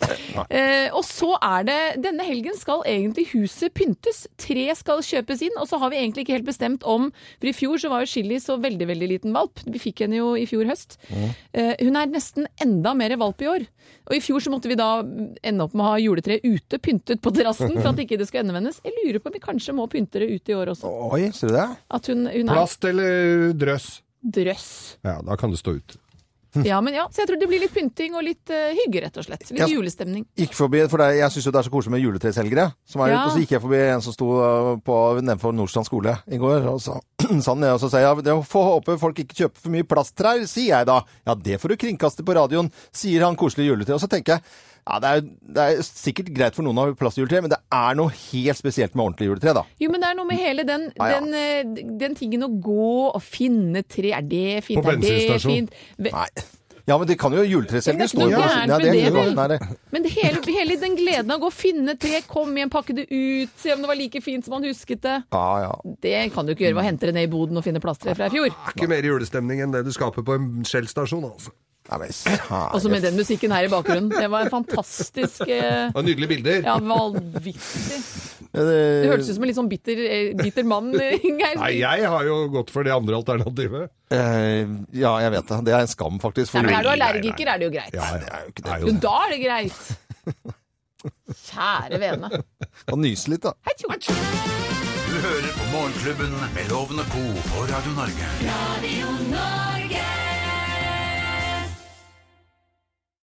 Speaker 4: Eh, og så er det Denne helgen skal egentlig huset pyntes. Tre skal kjøpes inn, og så har vi egentlig ikke helt bestemt om For i fjor så var jo Chili så veldig, veldig liten valp. Vi fikk henne jo i fjor høst.
Speaker 3: Mm.
Speaker 4: Eh, hun er nesten enda mer valp i år. Og i fjor så måtte vi da ende opp med å ha juletreet ute pyntet på terrassen for at ikke det skulle endevendes. Jeg lurer på om vi kanskje må pynte det ute i år også.
Speaker 3: Oi, ser du det?
Speaker 4: At hun, hun er
Speaker 5: Plast eller drøss?
Speaker 4: drøss.
Speaker 5: Ja, da kan du stå ut.
Speaker 4: Ja, men ja. Så jeg tror det blir litt pynting og litt eh, hygge, rett og slett. Litt
Speaker 3: Ja.
Speaker 4: julestemning.
Speaker 3: Gikk forbi, for det, Jeg syns jo det er så koselig med juletreselgere. Som er
Speaker 4: Ja.
Speaker 3: ute, og så gikk jeg forbi en som sto øh, på nedenfor Nordstrand skole i går, og så sa han det, og så sa jeg jeg får håpe folk ikke kjøper for mye plasttrær, sier jeg da. Ja, det får du kringkaste på radioen, sier han koselig juletre. Og så tenker jeg ja, det er, det er sikkert greit for noen å ha plastjuletre, men det er noe helt spesielt med ordentlig juletre, da.
Speaker 4: Jo, men det er noe med hele den,
Speaker 3: Ja, ja.
Speaker 4: den, eh, den tingen å gå og finne tre. Er det fint?
Speaker 5: På
Speaker 4: er det
Speaker 5: bensinstasjon.
Speaker 4: fint? Ve-
Speaker 3: Nei. Ja, men det kan jo
Speaker 4: Men det
Speaker 3: juletreselgere
Speaker 4: er ikke
Speaker 3: stå
Speaker 4: noe
Speaker 3: jo på
Speaker 4: gærent
Speaker 3: Ja, det
Speaker 4: med
Speaker 3: er ikke
Speaker 4: det,
Speaker 3: noe
Speaker 4: vel?
Speaker 3: galt. Nei, det-
Speaker 4: Men det hele, hele den gleden av å gå og finne tre, kom igjen, pakke det ut, se om det var like fint som man husket det.
Speaker 3: Ja, ja.
Speaker 4: Det kan du ikke gjøre ved å hente det ned i boden og finne plasttre fra i fjor.
Speaker 5: Ikke mer julestemning enn det du skaper på en Shell-stasjon, altså.
Speaker 3: Nei, men kjære
Speaker 4: Også med den musikken her i bakgrunnen. Det var en fantastisk eh,
Speaker 5: Og nydelige bilder.
Speaker 4: Ja, vanvittig.
Speaker 3: Eh,
Speaker 4: Det hørtes ut som en litt sånn bitter, eh, bitter mann, eh, Geir.
Speaker 5: Nei, jeg har jo gått for det andre alternativet.
Speaker 3: eh, Ja, jeg vet det. Det er en skam, faktisk. for
Speaker 4: Nei, men er du
Speaker 3: jul-
Speaker 4: allergiker, er det jo greit.
Speaker 5: Ja,
Speaker 3: Det er jo ikke det.
Speaker 5: er
Speaker 4: Jo,
Speaker 5: jo det.
Speaker 4: da er det greit. Kjære vene.
Speaker 3: Og nyse litt, da.
Speaker 4: Hei, tjo.
Speaker 2: Du hører på Morgenklubben med Loven og Co. på Radio Norge.
Speaker 1: Radio